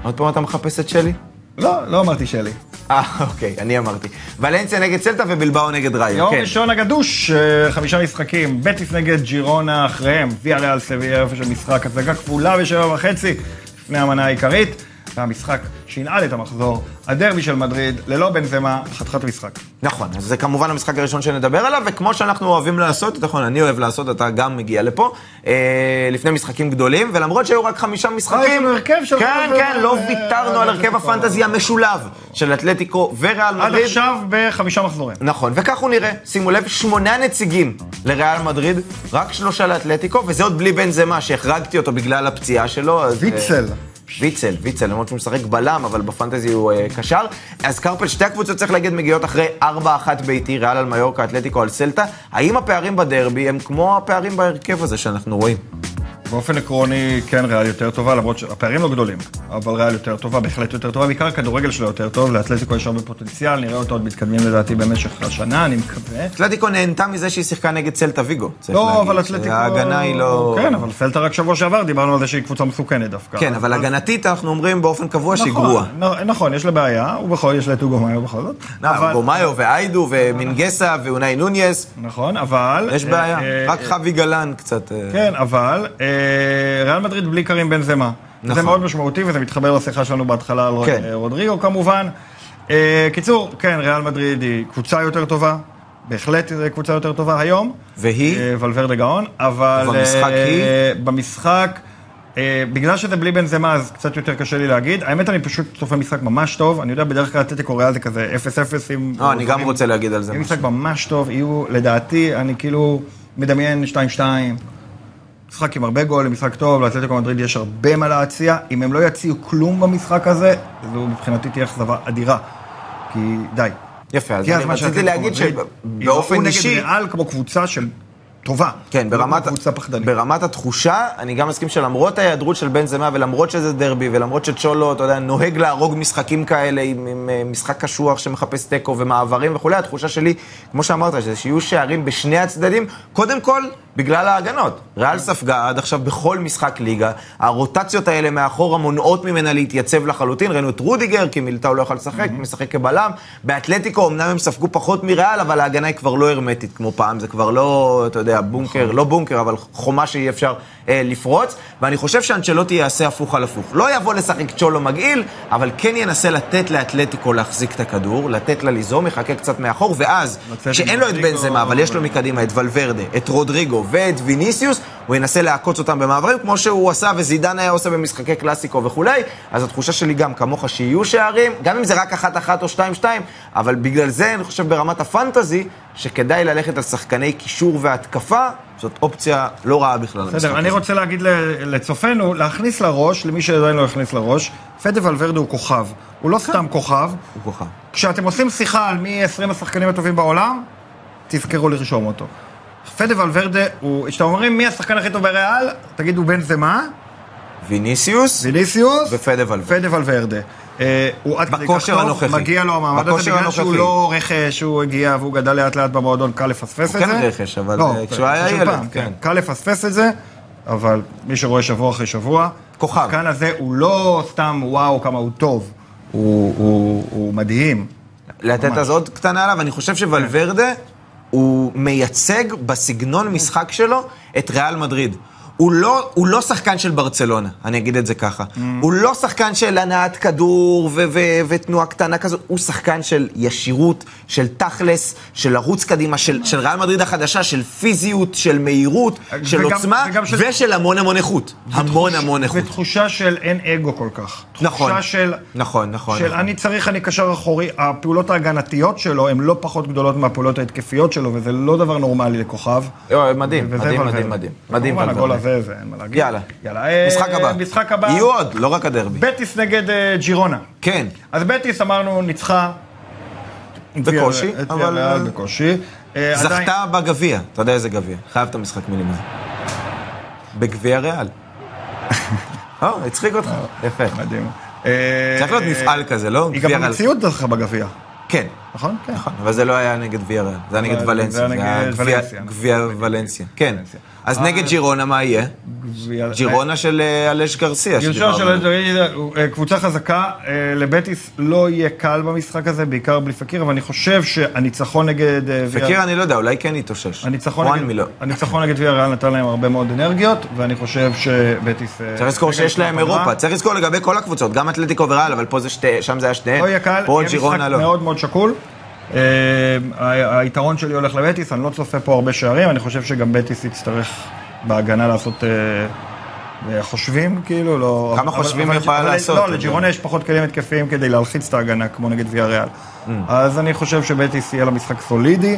Speaker 1: עוד פעם אתה מחפש את שלי?
Speaker 2: לא, לא אמרתי שלי.
Speaker 1: אה, אוקיי, אני אמרתי. ולנסיה נגד סלטה ובלבאו נגד ראיו,
Speaker 2: יום
Speaker 1: כן.
Speaker 2: ראשון הגדוש, אה, חמישה משחקים, בטיס נגד ג'ירונה אחריהם, ויה ריאל סביה, איפה שמשחק, הצגה כפולה בשבע וחצי, לפני המנה העיקרית, והמשחק שינעל את המחזור, הדרבי של מדריד, ללא בנזמה, חתיכת משחק.
Speaker 1: נכון, אז זה כמובן המשחק הראשון שנדבר עליו, וכמו שאנחנו אוהבים לעשות, נכון, אני אוהב לעשות, אתה גם מגיע לפה, אה, לפני משחקים גדולים, ולמרות שהיו רק חמישה משחקים...
Speaker 2: אה, יש לנו הרכב של-
Speaker 1: כן, כן, לא
Speaker 2: אה,
Speaker 1: ויתרנו על הרכב
Speaker 2: אתלטיקו.
Speaker 1: הפנטזי המשולב של אתלטיקו וריאל
Speaker 2: עד
Speaker 1: מדריד.
Speaker 2: עכשיו בחמישה מחזורים.
Speaker 1: נכון, וכך הוא נראה. שימו לב, שמונה נציגים לריאל מדריד, רק שלושה לאתלטיקו, וזה עוד בלי בן זמה, שהחרגתי אותו בגלל הפציעה שלו. אז, אה,
Speaker 2: ויצל.
Speaker 1: ויצל, ויצל, למרות שהוא משחק בלם, אבל בפנטזי הוא אה, קשר. אז קרפל, שתי הקבוצות, צריך להגיד, מגיעות אחרי 4-1 ביתי, ריאל על מיורקה, אתלטיקו על סלטה. האם הפערים בדרבי הם כמו הפערים בהרכב הזה שאנחנו רואים?
Speaker 2: באופן עקרוני, כן, ריאל יותר טובה, למרות שהפערים לא גדולים, אבל ריאל יותר טובה, בהחלט יותר טובה, בעיקר הכדורגל שלה יותר טוב, לאתלטיקו יש הרבה פוטנציאל, נראה אותו עוד מתקדמים לדעתי במשך השנה, אני מקווה.
Speaker 1: אתלטיקו נהנתה מזה שהיא שיחקה נגד סלטה ויגו. צריך
Speaker 2: לא,
Speaker 1: להגיד,
Speaker 2: אבל אתלטיקו...
Speaker 1: שההגנה היא לא...
Speaker 2: כן, אבל סלטה רק שבוע שעבר דיברנו על זה שהיא קבוצה מסוכנת דווקא.
Speaker 1: כן, אבל הגנתית אנחנו אומרים באופן קבוע שהיא
Speaker 2: נכון,
Speaker 1: גרועה. נכון.
Speaker 2: נ- נכון, יש לה בעיה, ובכל יש לה את אוגו מאיו בכל זאת. אבל-
Speaker 1: אבל... גומאיו ואיידו ומינגסה ואונאי נוניס,
Speaker 2: נכון, אבל...
Speaker 1: יש
Speaker 2: אה,
Speaker 1: בעיה.
Speaker 2: אה,
Speaker 1: רק
Speaker 2: אה,
Speaker 1: חבי גלן קצת... אה,
Speaker 2: כן, אבל אה, ריאל מדריד בלי קרים בנזמה. זה
Speaker 1: נכון.
Speaker 2: מאוד משמעותי, וזה מתחבר לשיחה שלנו בהתחלה על רוד-
Speaker 1: כן.
Speaker 2: אה, רודריגו כמובן. אה, קיצור, כן, ריאל מדריד היא קבוצה יותר טובה, בהחלט היא קבוצה יותר טובה היום.
Speaker 1: והיא?
Speaker 2: אה, ולוורדה גאון, אבל...
Speaker 1: ובמשחק
Speaker 2: אה,
Speaker 1: היא?
Speaker 2: במשחק... אה, בגלל שזה בלי בנזמה, אז קצת יותר קשה לי להגיד. האמת, אני פשוט צופה משחק ממש טוב. אני יודע, בדרך כלל אתלטיקו ריאל זה כזה 0-0 עם...
Speaker 1: לא, אני גם רוצה להגיד על זה
Speaker 2: יהיה
Speaker 1: משהו.
Speaker 2: משחק ממש טוב, יהיו, לדעתי, אני כאילו מדמיין 2-2. משחק עם הרבה גולים, משחק טוב, לאתלטיקו מדריד יש הרבה מה להציע. אם הם לא יציעו כלום במשחק הזה, זו מבחינתי תהיה אכזבה אדירה. כי די.
Speaker 1: יפה, אז
Speaker 2: הגיע
Speaker 1: אני
Speaker 2: הזמן
Speaker 1: רציתי
Speaker 2: שהאתלטיקו
Speaker 1: להגיד
Speaker 2: מדריד יראו
Speaker 1: שבאופן אישי...
Speaker 2: לא- נגד ריאל כמו קבוצה של טובה.
Speaker 1: כן,
Speaker 2: לא
Speaker 1: ברמת,
Speaker 2: כמו קבוצה פחדנית.
Speaker 1: ברמת התחושה, אני גם מסכים שלמרות ההיעדרות של בן זמה, ולמרות שזה דרבי, ולמרות שצ'ולו, אתה יודע, נוהג להרוג משחקים כאלה עם, עם אה, משחק קשוח שמחפש תיקו ומעברים וכולי, התחושה שלי, כמו שאמרת, שזה שיהיו שערים בשני הצדדים, קודם כל... בגלל ההגנות. ריאל ספגה עד עכשיו בכל משחק ליגה, הרוטציות האלה מאחורה מונעות ממנה להתייצב לחלוטין, ראינו את רודיגר, כי מילטאו לא יכל לשחק,
Speaker 2: Mm-hmm.
Speaker 1: משחק כבלם, באתלטיקו אמנם הם ספגו פחות מריאל, אבל ההגנה היא כבר לא הרמטית כמו פעם, זה כבר לא, אתה יודע, בונקר,
Speaker 2: נכון.
Speaker 1: לא בונקר, אבל חומה שאי אפשר אה, לפרוץ, ואני חושב שאנצ'לוטי יעשה הפוך על הפוך. לא יבוא לשחק צ'ולו מגעיל, אבל כן ינסה לתת לאתלטיקו להחזיק את הכדור, לתת לה ליזום, יחכה קצת מאחור, ואז,
Speaker 2: לצאת עם
Speaker 1: כשאין לו את
Speaker 2: רודריגו,
Speaker 1: בנזמה, אבל יש לו מקדימה את ולוורדה, את רודריגו ואת ויניסיוס, הוא ינסה לעקוץ אותם במעברים, כמו שהוא עשה וזידן היה עושה במשחקי קלאסיקו וכולי, אז התחושה שלי גם כמוך שיהיו שערים, גם אם זה רק אחת-אחת או שתיים-שתיים, אבל בגלל זה אני חושב ברמת הפנטזי, שכדאי ללכת על שחקני קישור והתקפה, זאת אופציה לא רעה בכלל. למשחק
Speaker 2: בסדר, אני
Speaker 1: הזה.
Speaker 2: רוצה להגיד ל- לצופינו, להכניס לראש, למי שעדיין לא הכניס לראש, פדה ולוורדה הוא כוכב. הוא לא סתם כוכב.
Speaker 1: הוא כוכב.
Speaker 2: כשאתם עושים שיחה על מי 20 השחקנים הטובים בעולם, תזכרו לרשום אותו. פדה ולוורדה, הוא- כשאתם אומרים מי השחקן הכי טוב בריאל, תגידו בן זמה,
Speaker 1: ויניסיוס
Speaker 2: ויניסיוס,
Speaker 1: ופדה ולוורדה.
Speaker 2: פדה ולוורדה. אה, הוא עד כדי כך
Speaker 1: בכושר
Speaker 2: טוב,
Speaker 1: הנוכחי.
Speaker 2: מגיע לו המעמד הזה,
Speaker 1: בכושר
Speaker 2: בגלל שהוא
Speaker 1: הנוכחי.
Speaker 2: לא רכש, הוא הגיע והוא גדל לאט לאט במועדון, קל לפספס
Speaker 1: הוא
Speaker 2: את זה.
Speaker 1: כן רכש, אבל,
Speaker 2: לא,
Speaker 1: אה, כשהוא היה
Speaker 2: של
Speaker 1: ילד,
Speaker 2: פעם,
Speaker 1: כן.
Speaker 2: קל לפספס את זה, אבל מי שרואה שבוע אחרי שבוע,
Speaker 1: כוכב.
Speaker 2: השחקן הזה הוא לא סתם וואו כמה הוא טוב, הוא- הוא הוא מדהים.
Speaker 1: לתת אז עוד קטנה עליו, אני חושב
Speaker 2: כן.
Speaker 1: שוולברדה הוא מייצג בסגנון משחק שלו את ריאל מדריד. הוא לא, הוא לא שחקן של ברצלונה, אני אגיד את זה ככה.
Speaker 2: Mm.
Speaker 1: הוא לא שחקן של הנעת כדור ו- ו- ותנועה קטנה כזו, הוא שחקן של ישירות, של תכלס, של לרוץ קדימה, של, של ריאל מדריד החדשה, של פיזיות, של מהירות, של
Speaker 2: אה, וגם-
Speaker 1: עוצמה,
Speaker 2: וגם של-
Speaker 1: ושל המון המון איכות. המון המון איכות.
Speaker 2: ותחושה של אין אגו כל כך.
Speaker 1: נכון.
Speaker 2: תחושה של...
Speaker 1: נכון, נכון.
Speaker 2: של
Speaker 1: נכון.
Speaker 2: אני צריך, אני קשר אחורי, הפעולות ההגנתיות שלו הן לא פחות גדולות מהפעולות ההתקפיות שלו, וזה לא דבר נורמלי לכוכב.
Speaker 1: יואו, מדהים,
Speaker 2: וזה
Speaker 1: מדהים,
Speaker 2: ולוורדה.
Speaker 1: מדהים, מדהים. מדהים,
Speaker 2: כמובן, הגול
Speaker 1: ולוורדה.
Speaker 2: הזה, זה אין מה להגיד.
Speaker 1: יאללה.
Speaker 2: יאללה. אה,
Speaker 1: משחק הבא.
Speaker 2: משחק הבא.
Speaker 1: יהיו עוד, לא רק הדרבי.
Speaker 2: בטיס נגד אה, ג'ירונה.
Speaker 1: כן.
Speaker 2: אז בטיס אמרנו ניצחה.
Speaker 1: בקושי,
Speaker 2: את
Speaker 1: אבל-
Speaker 2: ויאריאל בקושי. אה, עדיין-
Speaker 1: זכתה בגביע, אתה יודע איזה גביע, חייב את המשחק מלימוד. בגביע
Speaker 2: <laughs>
Speaker 1: ריאל. או, הצחיק אותך, יפה.
Speaker 2: מדהים. אה,
Speaker 1: צריך להיות
Speaker 2: אה,
Speaker 1: מפעל כזה, לא?
Speaker 2: היא גם
Speaker 1: גביע ריאל.
Speaker 2: במציאות זכה בגביע,
Speaker 1: כן,
Speaker 2: נכון? כן.
Speaker 1: נכון, אבל זה לא היה נגד גביע ריאל, זה היה
Speaker 2: אבל
Speaker 1: נגד
Speaker 2: זה
Speaker 1: ולנסיה,
Speaker 2: היה
Speaker 1: זה
Speaker 2: נגד
Speaker 1: היה גביע-
Speaker 2: ולנסיה, נכון.
Speaker 1: גביע ולנסיה, כן.
Speaker 2: ולנסיה. אה,
Speaker 1: אז נגד ג'ירונה, מה יהיה?
Speaker 2: גביע-
Speaker 1: ג'ירונה של אה, אלש גרסיה.
Speaker 2: גרשון
Speaker 1: שדיברנו
Speaker 2: של
Speaker 1: עליו.
Speaker 2: אלדוריד, אה, קבוצה חזקה, אה, לבטיס לא יהיה קל במשחק הזה, בעיקר בלי פקיר, אבל אני חושב שהניצחון נגד... אה, ויה-
Speaker 1: פקיר, לא? אני לא יודע, אולי כן יתאושש.
Speaker 2: הניצחון
Speaker 1: חואן
Speaker 2: נגד-
Speaker 1: מילו.
Speaker 2: הניצחון נגד ויאריאל נתן להם הרבה מאוד אנרגיות, ואני חושב שבטיס... אה,
Speaker 1: צריך לזכור
Speaker 2: רגע
Speaker 1: שיש להם
Speaker 2: לפני הפגרה.
Speaker 1: אירופה, צריך לזכור לגבי כל הקבוצות, גם אתלטיקו וריאל, אבל פה זה שתי, שם זה היה שתיהן.
Speaker 2: לא יהיה קל,
Speaker 1: פה
Speaker 2: יהיה
Speaker 1: כן. ג'ירונה
Speaker 2: משחק
Speaker 1: לא.
Speaker 2: מאוד מאוד שקול. אה, ה- היתרון שלי הולך לבטיס, אני לא צופה פה הרבה שערים, אני חושב שגם בטיס יצטרך בהגנה לעשות אה, אה, חושבים, כאילו, לא...
Speaker 1: כמה
Speaker 2: אבל-
Speaker 1: חושבים
Speaker 2: אבל-
Speaker 1: יכולה
Speaker 2: אבל-
Speaker 1: לעשות,
Speaker 2: לא,
Speaker 1: אבל-
Speaker 2: לג'ירונה יש פחות כלים התקפיים כדי להלחיץ את ההגנה, כמו נגד ויאריאל.
Speaker 1: Mm.
Speaker 2: אז אני חושב שבטיס יהיה לה משחק סולידי,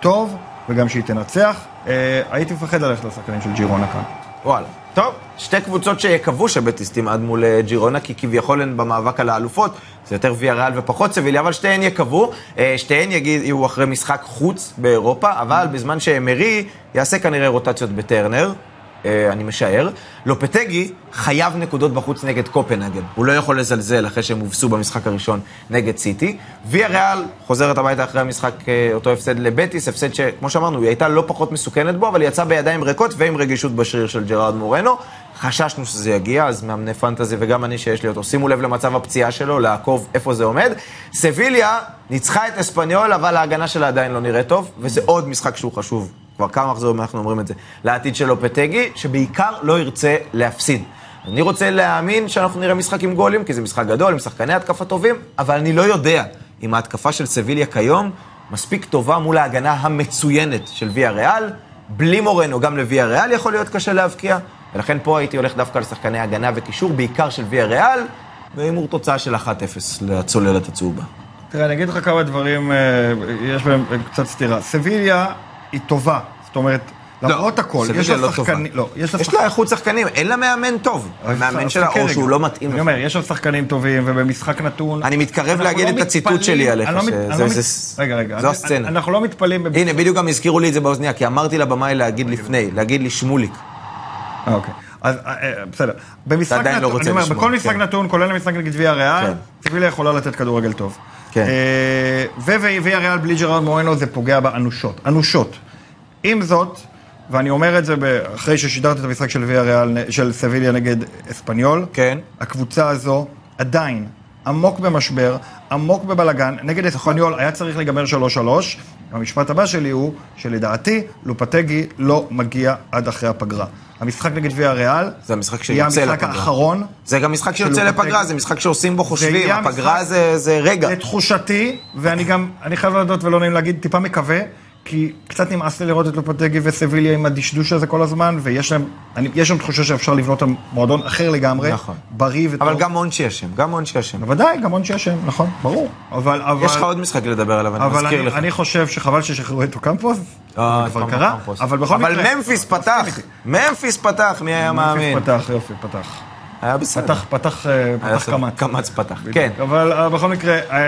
Speaker 2: טוב, וגם שהיא תנצח. אה, הייתי מפחד ללכת לשחקנים של ג'ירונה כאן.
Speaker 1: וואלה. טוב, שתי קבוצות שיקוו שבטיס תמעד מול אה, ג'ירונה, כי כביכול הן במאבק על האלופות, זה יותר ויה ריאל ופחות סביליה, אבל שתיהן יקוו, אה, שתיהן יגיד- יהיו אחרי משחק חוץ באירופה,
Speaker 2: Mm-hmm.
Speaker 1: אבל בזמן שאמרי יעשה כנראה רוטציות בטרנר. אה, אני משער, לופטגי חייב נקודות בחוץ נגד קופנהגן. הוא לא יכול לזלזל אחרי שהם הובסו במשחק הראשון נגד סיטי. ויה ריאל חוזרת הביתה אחרי המשחק, אה, אותו הפסד לבטיס, הפסד שכמו שאמרנו, היא הייתה לא פחות מסוכנת בו, אבל היא יצאה בידיים ריקות ועם רגישות בשריר של ג'רארד מורנו. חששנו שזה יגיע, אז מאמני פנטזי וגם אני שיש לי אותו, שימו לב למצב הפציעה שלו, לעקוב איפה זה עומד. סביליה ניצחה את אספניול, אבל ההגנה שלה עדיין לא נראית טוב, וזה עוד משחק שהוא חשוב, כבר כמה מחזורים אנחנו אומרים את זה, לעתיד של לופטגי, שבעיקר לא ירצה להפסיד. אני רוצה להאמין שאנחנו נראה משחק עם גולים, כי זה משחק גדול, עם שחקני התקפה טובים, אבל אני לא יודע אם ההתקפה של סביליה כיום מספיק טובה מול ההגנה המצוינת של ויה ריאל. בלי מורנו, גם לוויה ריאל יכול להיות קשה להבקיע, ולכן פה הייתי הולך דווקא לשחקני הגנה וקישור, בעיקר של ויה ריאל, והימור תוצאה של 1-0 לצוללת הצהובה.
Speaker 2: תראה, אני אגיד לך כמה דברים, אה, יש בהם אה, קצת סתירה. סביליה היא טובה, זאת אומרת, למרות הכל, יש
Speaker 1: לא, סביליה
Speaker 2: לה
Speaker 1: לא טובה.
Speaker 2: שחקנים, לא, יש לה
Speaker 1: יש לה איכות שחקנים, אין לה מאמן טוב. המאמן שלה, או שהוא לא מתאים
Speaker 2: אני
Speaker 1: לך.
Speaker 2: אומר, יש שם שחקנים טובים, ובמשחק נתון...
Speaker 1: אני מתקרב
Speaker 2: אנחנו
Speaker 1: להגיד
Speaker 2: לא
Speaker 1: את הציטוט
Speaker 2: מתפלאים-
Speaker 1: שלי עליך,
Speaker 2: אני לא מת-
Speaker 1: שזה-
Speaker 2: אני לא
Speaker 1: זה-
Speaker 2: מת-
Speaker 1: זה-
Speaker 2: רגע, רגע.
Speaker 1: זו
Speaker 2: אני-
Speaker 1: הסצנה.
Speaker 2: אנחנו לא מתפלאים... במשחק-
Speaker 1: הנה, בדיוק גם הזכירו לי את זה באוזניה, כי אמרתי לבמאי להגיד לפני, להגיד לי שמוליק.
Speaker 2: אה, אוקיי. אז אה, אה, בסדר. במשחק
Speaker 1: עדיין לא
Speaker 2: נתון,
Speaker 1: רוצה
Speaker 2: אני אומר,
Speaker 1: לשמוע,
Speaker 2: בכל משחק
Speaker 1: כן.
Speaker 2: נתון, כולל המשחק נגד ויה ריאל,
Speaker 1: כן.
Speaker 2: סביליה יכולה לתת כדורגל טוב.
Speaker 1: כן.
Speaker 2: אה, ו- ו- ויה ריאל בלי ג'רארד מורנו זה פוגע בה אנושות. אנושות. עם זאת, ואני אומר את זה ב- אחרי ששידרתי את המשחק של ויאריאל, של סביליה נגד אספניול.
Speaker 1: כן.
Speaker 2: הקבוצה הזו עדיין עמוק במשבר, עמוק בבלגן, נגד אספניול היה צריך להיגמר 3-3. המשפט הבא שלי הוא שלדעתי לופטגי לא מגיע עד אחרי הפגרה. המשחק נגד ויאריאל,
Speaker 1: זה המשחק
Speaker 2: יהיה
Speaker 1: שיוצא
Speaker 2: המשחק
Speaker 1: לפגרה.
Speaker 2: האחרון.
Speaker 1: זה גם משחק שיוצא
Speaker 2: של
Speaker 1: לפגרה,
Speaker 2: לופטגי.
Speaker 1: זה משחק שעושים בו חושבים,
Speaker 2: יהיה
Speaker 1: הפגרה
Speaker 2: המשחק-
Speaker 1: זה זה רגע.
Speaker 2: לתחושתי, ואני גם, אני חייב להודות ולא נעים להגיד, טיפה מקווה, כי קצת נמאס לי לראות את לופטגי וסביליה עם הדשדוש הזה כל הזמן, ויש להם, אני, יש שם תחושה שאפשר לבנות את המועדון אחר לגמרי,
Speaker 1: נכון.
Speaker 2: בריא וטוב.
Speaker 1: אבל גם עונשי אשם, גם עונשי אשם.
Speaker 2: בוודאי, גם עונשי השם, נכון, ברור. אבל, אבל...
Speaker 1: יש לך עוד משחק לדבר עליו, אני
Speaker 2: אבל
Speaker 1: מזכיר
Speaker 2: אני,
Speaker 1: לך.
Speaker 2: אני חושב שחבל ששחררו את אוקמפוס,
Speaker 1: אה,
Speaker 2: זה כבר
Speaker 1: פעם
Speaker 2: קרה,
Speaker 1: אחר פוסט.
Speaker 2: אבל בכל מקרה...
Speaker 1: אבל ממפיס פתח, ממפיס פתח, מי היה מאמין?
Speaker 2: ממפיס פתח, יופי, פתח.
Speaker 1: היה בסדר.
Speaker 2: פתח, פתח, אה,
Speaker 1: היה
Speaker 2: פתח
Speaker 1: בסדר.
Speaker 2: קמץ.
Speaker 1: קמץ פתח,
Speaker 2: בדיוק.
Speaker 1: כן.
Speaker 2: אבל אה, בכל מקרה, אה,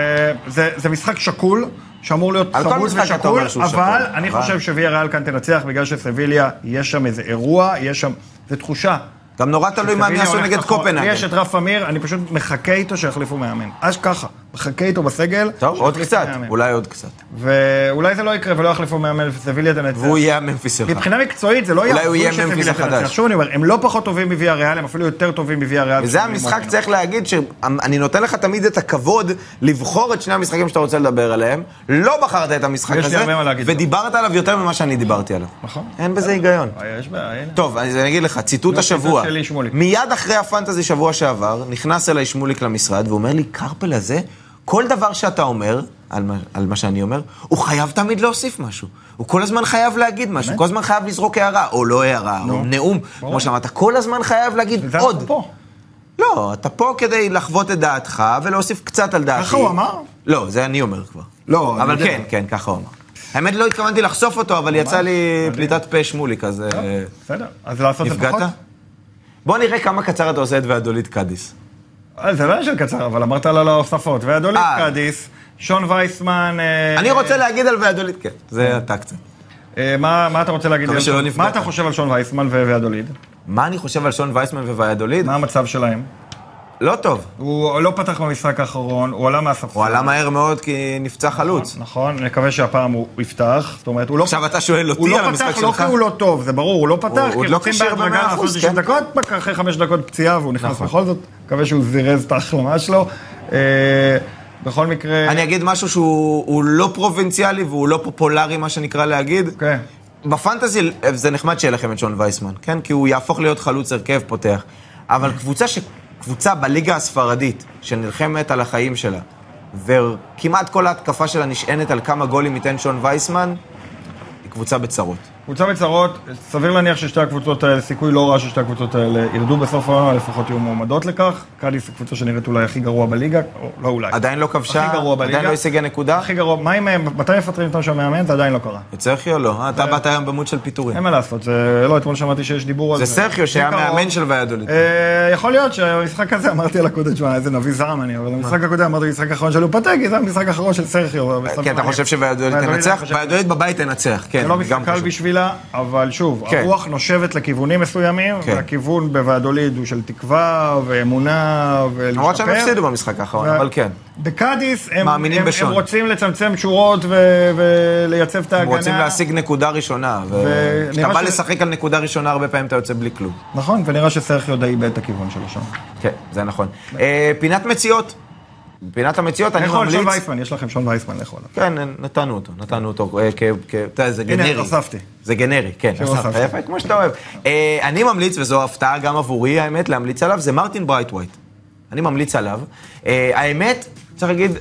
Speaker 2: זה זה משחק שקול, שאמור להיות
Speaker 1: על כל
Speaker 2: צמוד
Speaker 1: משחק אתה
Speaker 2: ושקול,
Speaker 1: אומר שהוא
Speaker 2: אבל
Speaker 1: שקול,
Speaker 2: אני
Speaker 1: אבל-
Speaker 2: חושב שוויה ריאל כאן תנצח, בגלל שסביליה, יש שם איזה אירוע, יש שם, זו תחושה.
Speaker 1: גם נורא תלוי לא מה הם
Speaker 2: סביליה
Speaker 1: יעשו
Speaker 2: הולכת
Speaker 1: נגד
Speaker 2: אחורה.
Speaker 1: קופנהגן.
Speaker 2: יש את רף אמיר, אני פשוט מחכה איתו שיחליפו מאמן. אז ככה, מחכה איתו בסגל.
Speaker 1: טוב, עוד
Speaker 2: שיחליפו
Speaker 1: קצת,
Speaker 2: מאמן.
Speaker 1: אולי עוד קצת.
Speaker 2: ואולי זה לא יקרה ולא יחליפו מאמן וסביליה תנצח.
Speaker 1: והוא יהיה הממפיס שלך.
Speaker 2: מבחינה מקצועית זה לא
Speaker 1: אולי הוא
Speaker 2: הזוי
Speaker 1: יהיה
Speaker 2: שסביליה
Speaker 1: ממפיס
Speaker 2: תנצח.
Speaker 1: החדש.
Speaker 2: שוב אני אומר, הם לא פחות טובים מוויה ריאל, הם אפילו יותר טובים מוויה ריאל.
Speaker 1: וזה המשחק, צריך להגיד שאני נותן לך תמיד את הכבוד לבחור את שני המשחקים שאתה רוצה לדבר עליהם. לא בחרת את המשחק
Speaker 2: יש לי
Speaker 1: הזה,
Speaker 2: הרבה מה להגיד.
Speaker 1: ודיברת עליו יותר ממה שאני דיברתי עליו.
Speaker 2: נכון.
Speaker 1: אין בזה היגיון.
Speaker 2: אה, יש בעיה, הנה.
Speaker 1: טוב, אז אני אגיד לך, ציטוט
Speaker 2: נו,
Speaker 1: השבוע.
Speaker 2: ציטוט שלי, שמוליק.
Speaker 1: מיד אחרי הפנטזי שבוע שעבר, נכנס אליי שמוליק למשרד ואומר לי, קרפל הזה, כל דבר שאתה אומר, על מה, על מה שאני אומר, הוא חייב תמיד להוסיף משהו. הוא כל הזמן חייב להגיד משהו, כל הזמן חייב לזרוק הערה, או לא הערה, או נאום, כמו שאמרת, כל הזמן חייב להגיד
Speaker 2: וזה אנחנו
Speaker 1: עוד.
Speaker 2: פה.
Speaker 1: לא, אתה פה כדי לחוות את דעתך ולהוסיף קצת על דעתי.
Speaker 2: ככה הוא אמר?
Speaker 1: לא, זה אני אומר כבר.
Speaker 2: לא, אני
Speaker 1: אבל
Speaker 2: יודע.
Speaker 1: כן, כן, ככה הוא אמר. האמת, לא התכוונתי לחשוף אותו, אבל יצא לי פליטת פה שמוליק, אז... אה,
Speaker 2: בסדר, אז לעשות את זה פחות?
Speaker 1: נפגעת? בוא נראה כמה קצר אתה עושה את ועדולית קאדיס.
Speaker 2: אה, זה לא היה של קצר, אבל אמרת על ההוספות. ואדולית
Speaker 1: אה.
Speaker 2: קאדיס, שון וייסמן... אה,
Speaker 1: אני רוצה להגיד על ועדולית, כן, זה אתה קצת.
Speaker 2: אה, מה מה אתה רוצה להגיד?
Speaker 1: מקווה
Speaker 2: על שון-
Speaker 1: שלא נפגעת.
Speaker 2: מה אתה חושב על שון וייסמן ו- ואדוליד?
Speaker 1: מה אני חושב על שון וייסמן וועדולית?
Speaker 2: מה המצב שלהם?
Speaker 1: לא טוב.
Speaker 2: הוא לא פתח במשחק האחרון, הוא עלה מהספסל.
Speaker 1: הוא עלה מהר מאוד כי נפצע חלוץ.
Speaker 2: נכון, נקווה שהפעם הוא יפתח. זאת אומרת, הוא לא...
Speaker 1: עכשיו אתה שואל
Speaker 2: הוא
Speaker 1: אותי על
Speaker 2: לא פתח
Speaker 1: המשחק
Speaker 2: לא
Speaker 1: שלך?
Speaker 2: כי הוא לא טוב, זה ברור, הוא לא פתח,
Speaker 1: עוד
Speaker 2: כי
Speaker 1: לא
Speaker 2: רוצים
Speaker 1: כשיר במאה
Speaker 2: בהדרגה לעשות
Speaker 1: אחוז,
Speaker 2: 90
Speaker 1: כן.
Speaker 2: דקות, פק, אחרי 5 דקות פציעה והוא נכנס
Speaker 1: נכון.
Speaker 2: בכל זאת, מקווה שהוא זירז את ההחלמה שלו. אה, בכל מקרה...
Speaker 1: אני אגיד משהו שהוא הוא לא פרובינציאלי והוא לא פופולרי, מה שנקרא להגיד.
Speaker 2: כן.
Speaker 1: בפנטזי זה נחמד שיהיה לכם את שון וייסמן, כן? כי הוא יהפוך להיות חלוץ הרכב פותח. אבל קבוצה, ש... קבוצה בליגה הספרדית שנלחמת על החיים שלה, וכמעט כל ההתקפה שלה נשענת על כמה גולים ייתן שון וייסמן, היא קבוצה בצרות.
Speaker 2: קבוצה בצרות, סביר להניח ששתי הקבוצות האלה, סיכוי לא רע ששתי הקבוצות האלה ירדו בסוף העונה, לפחות יהיו מועמדות לכך. קאדיס הקבוצה שנראית אולי הכי גרוע בליגה, או לא אולי.
Speaker 1: עדיין לא כבשה,
Speaker 2: הכי גרוע בליגה.
Speaker 1: עדיין לא השיגה נקודה.
Speaker 2: הכי גרוע, מה אם, הם- מתי מפטרים אותם שם מאמן? זה עדיין לא קרה.
Speaker 1: את סרחיו או לא? אה, אתה באת היום במוד של פיטורים.
Speaker 2: אין מה לעשות, זה לא, אתמול שמעתי שיש דיבור על
Speaker 1: זה
Speaker 2: זה.
Speaker 1: סרחיו שהיה
Speaker 2: זה קרוב.
Speaker 1: מאמן של ויאדוליד.
Speaker 2: אה, יכול להיות שהמשחק הזה, אמרתי על הקודם, שמע, איזה נביא זעם אני, אבל המשחק הקודם, אמרתי, המשחק האחרון של לופטגי, זה המשחק האחרון של סרחיו. אבל
Speaker 1: כי
Speaker 2: סביר
Speaker 1: כן, אתה
Speaker 2: להניח.
Speaker 1: חושב שוועדולית
Speaker 2: ויאדוליד, אני
Speaker 1: תנצח?
Speaker 2: חושב-
Speaker 1: ועדולית בבית תנצח, כן.
Speaker 2: זה לא
Speaker 1: גם
Speaker 2: משחק קל
Speaker 1: חשוב.
Speaker 2: בשבילה, אבל שוב,
Speaker 1: כן.
Speaker 2: הרוח נושבת לכיוונים מסוימים,
Speaker 1: כן.
Speaker 2: והכיוון בוועדוליד הוא של תקווה ואמונה ולהשתפר.
Speaker 1: למרות שהם הפסידו במשחק האחרון,
Speaker 2: ו-
Speaker 1: אבל כן.
Speaker 2: בקאדיס הם, הם,
Speaker 1: מאמינים
Speaker 2: הם
Speaker 1: בשון.
Speaker 2: רוצים לצמצם שורות ו- ולייצב את
Speaker 1: הם
Speaker 2: ההגנה.
Speaker 1: רוצים להשיג נקודה ראשונה,
Speaker 2: ונראה
Speaker 1: וכשאתה בא
Speaker 2: ש-
Speaker 1: לשחק על נקודה ראשונה, הרבה פעמים אתה יוצא בלי כלום.
Speaker 2: נכון, ונראה שסרחיו די איבד את הכיוון שלו שם.
Speaker 1: כן, זה נכון. אה, פינת מציאות. פינת המציאות, אני
Speaker 2: לכו על שון
Speaker 1: ממליץ...
Speaker 2: וייסמן, יש לכם שון וייסמן לאכול.
Speaker 1: כן, נתנו אותו, נתנו אותו, אה, כ... כ... אתה יודע, זה
Speaker 2: הנה,
Speaker 1: גנרי.
Speaker 2: הוספתי.
Speaker 1: זה גנרי, כן,
Speaker 2: שוב
Speaker 1: אספת
Speaker 2: הוספתי.
Speaker 1: יפה, כמו שאתה אוהב. אה, אני ממליץ, וזו הפתעה גם עבורי, האמת, להמליץ עליו, זה מרטין ברייטווייט. אני ממליץ עליו. אה, האמת, צריך להגיד, ה-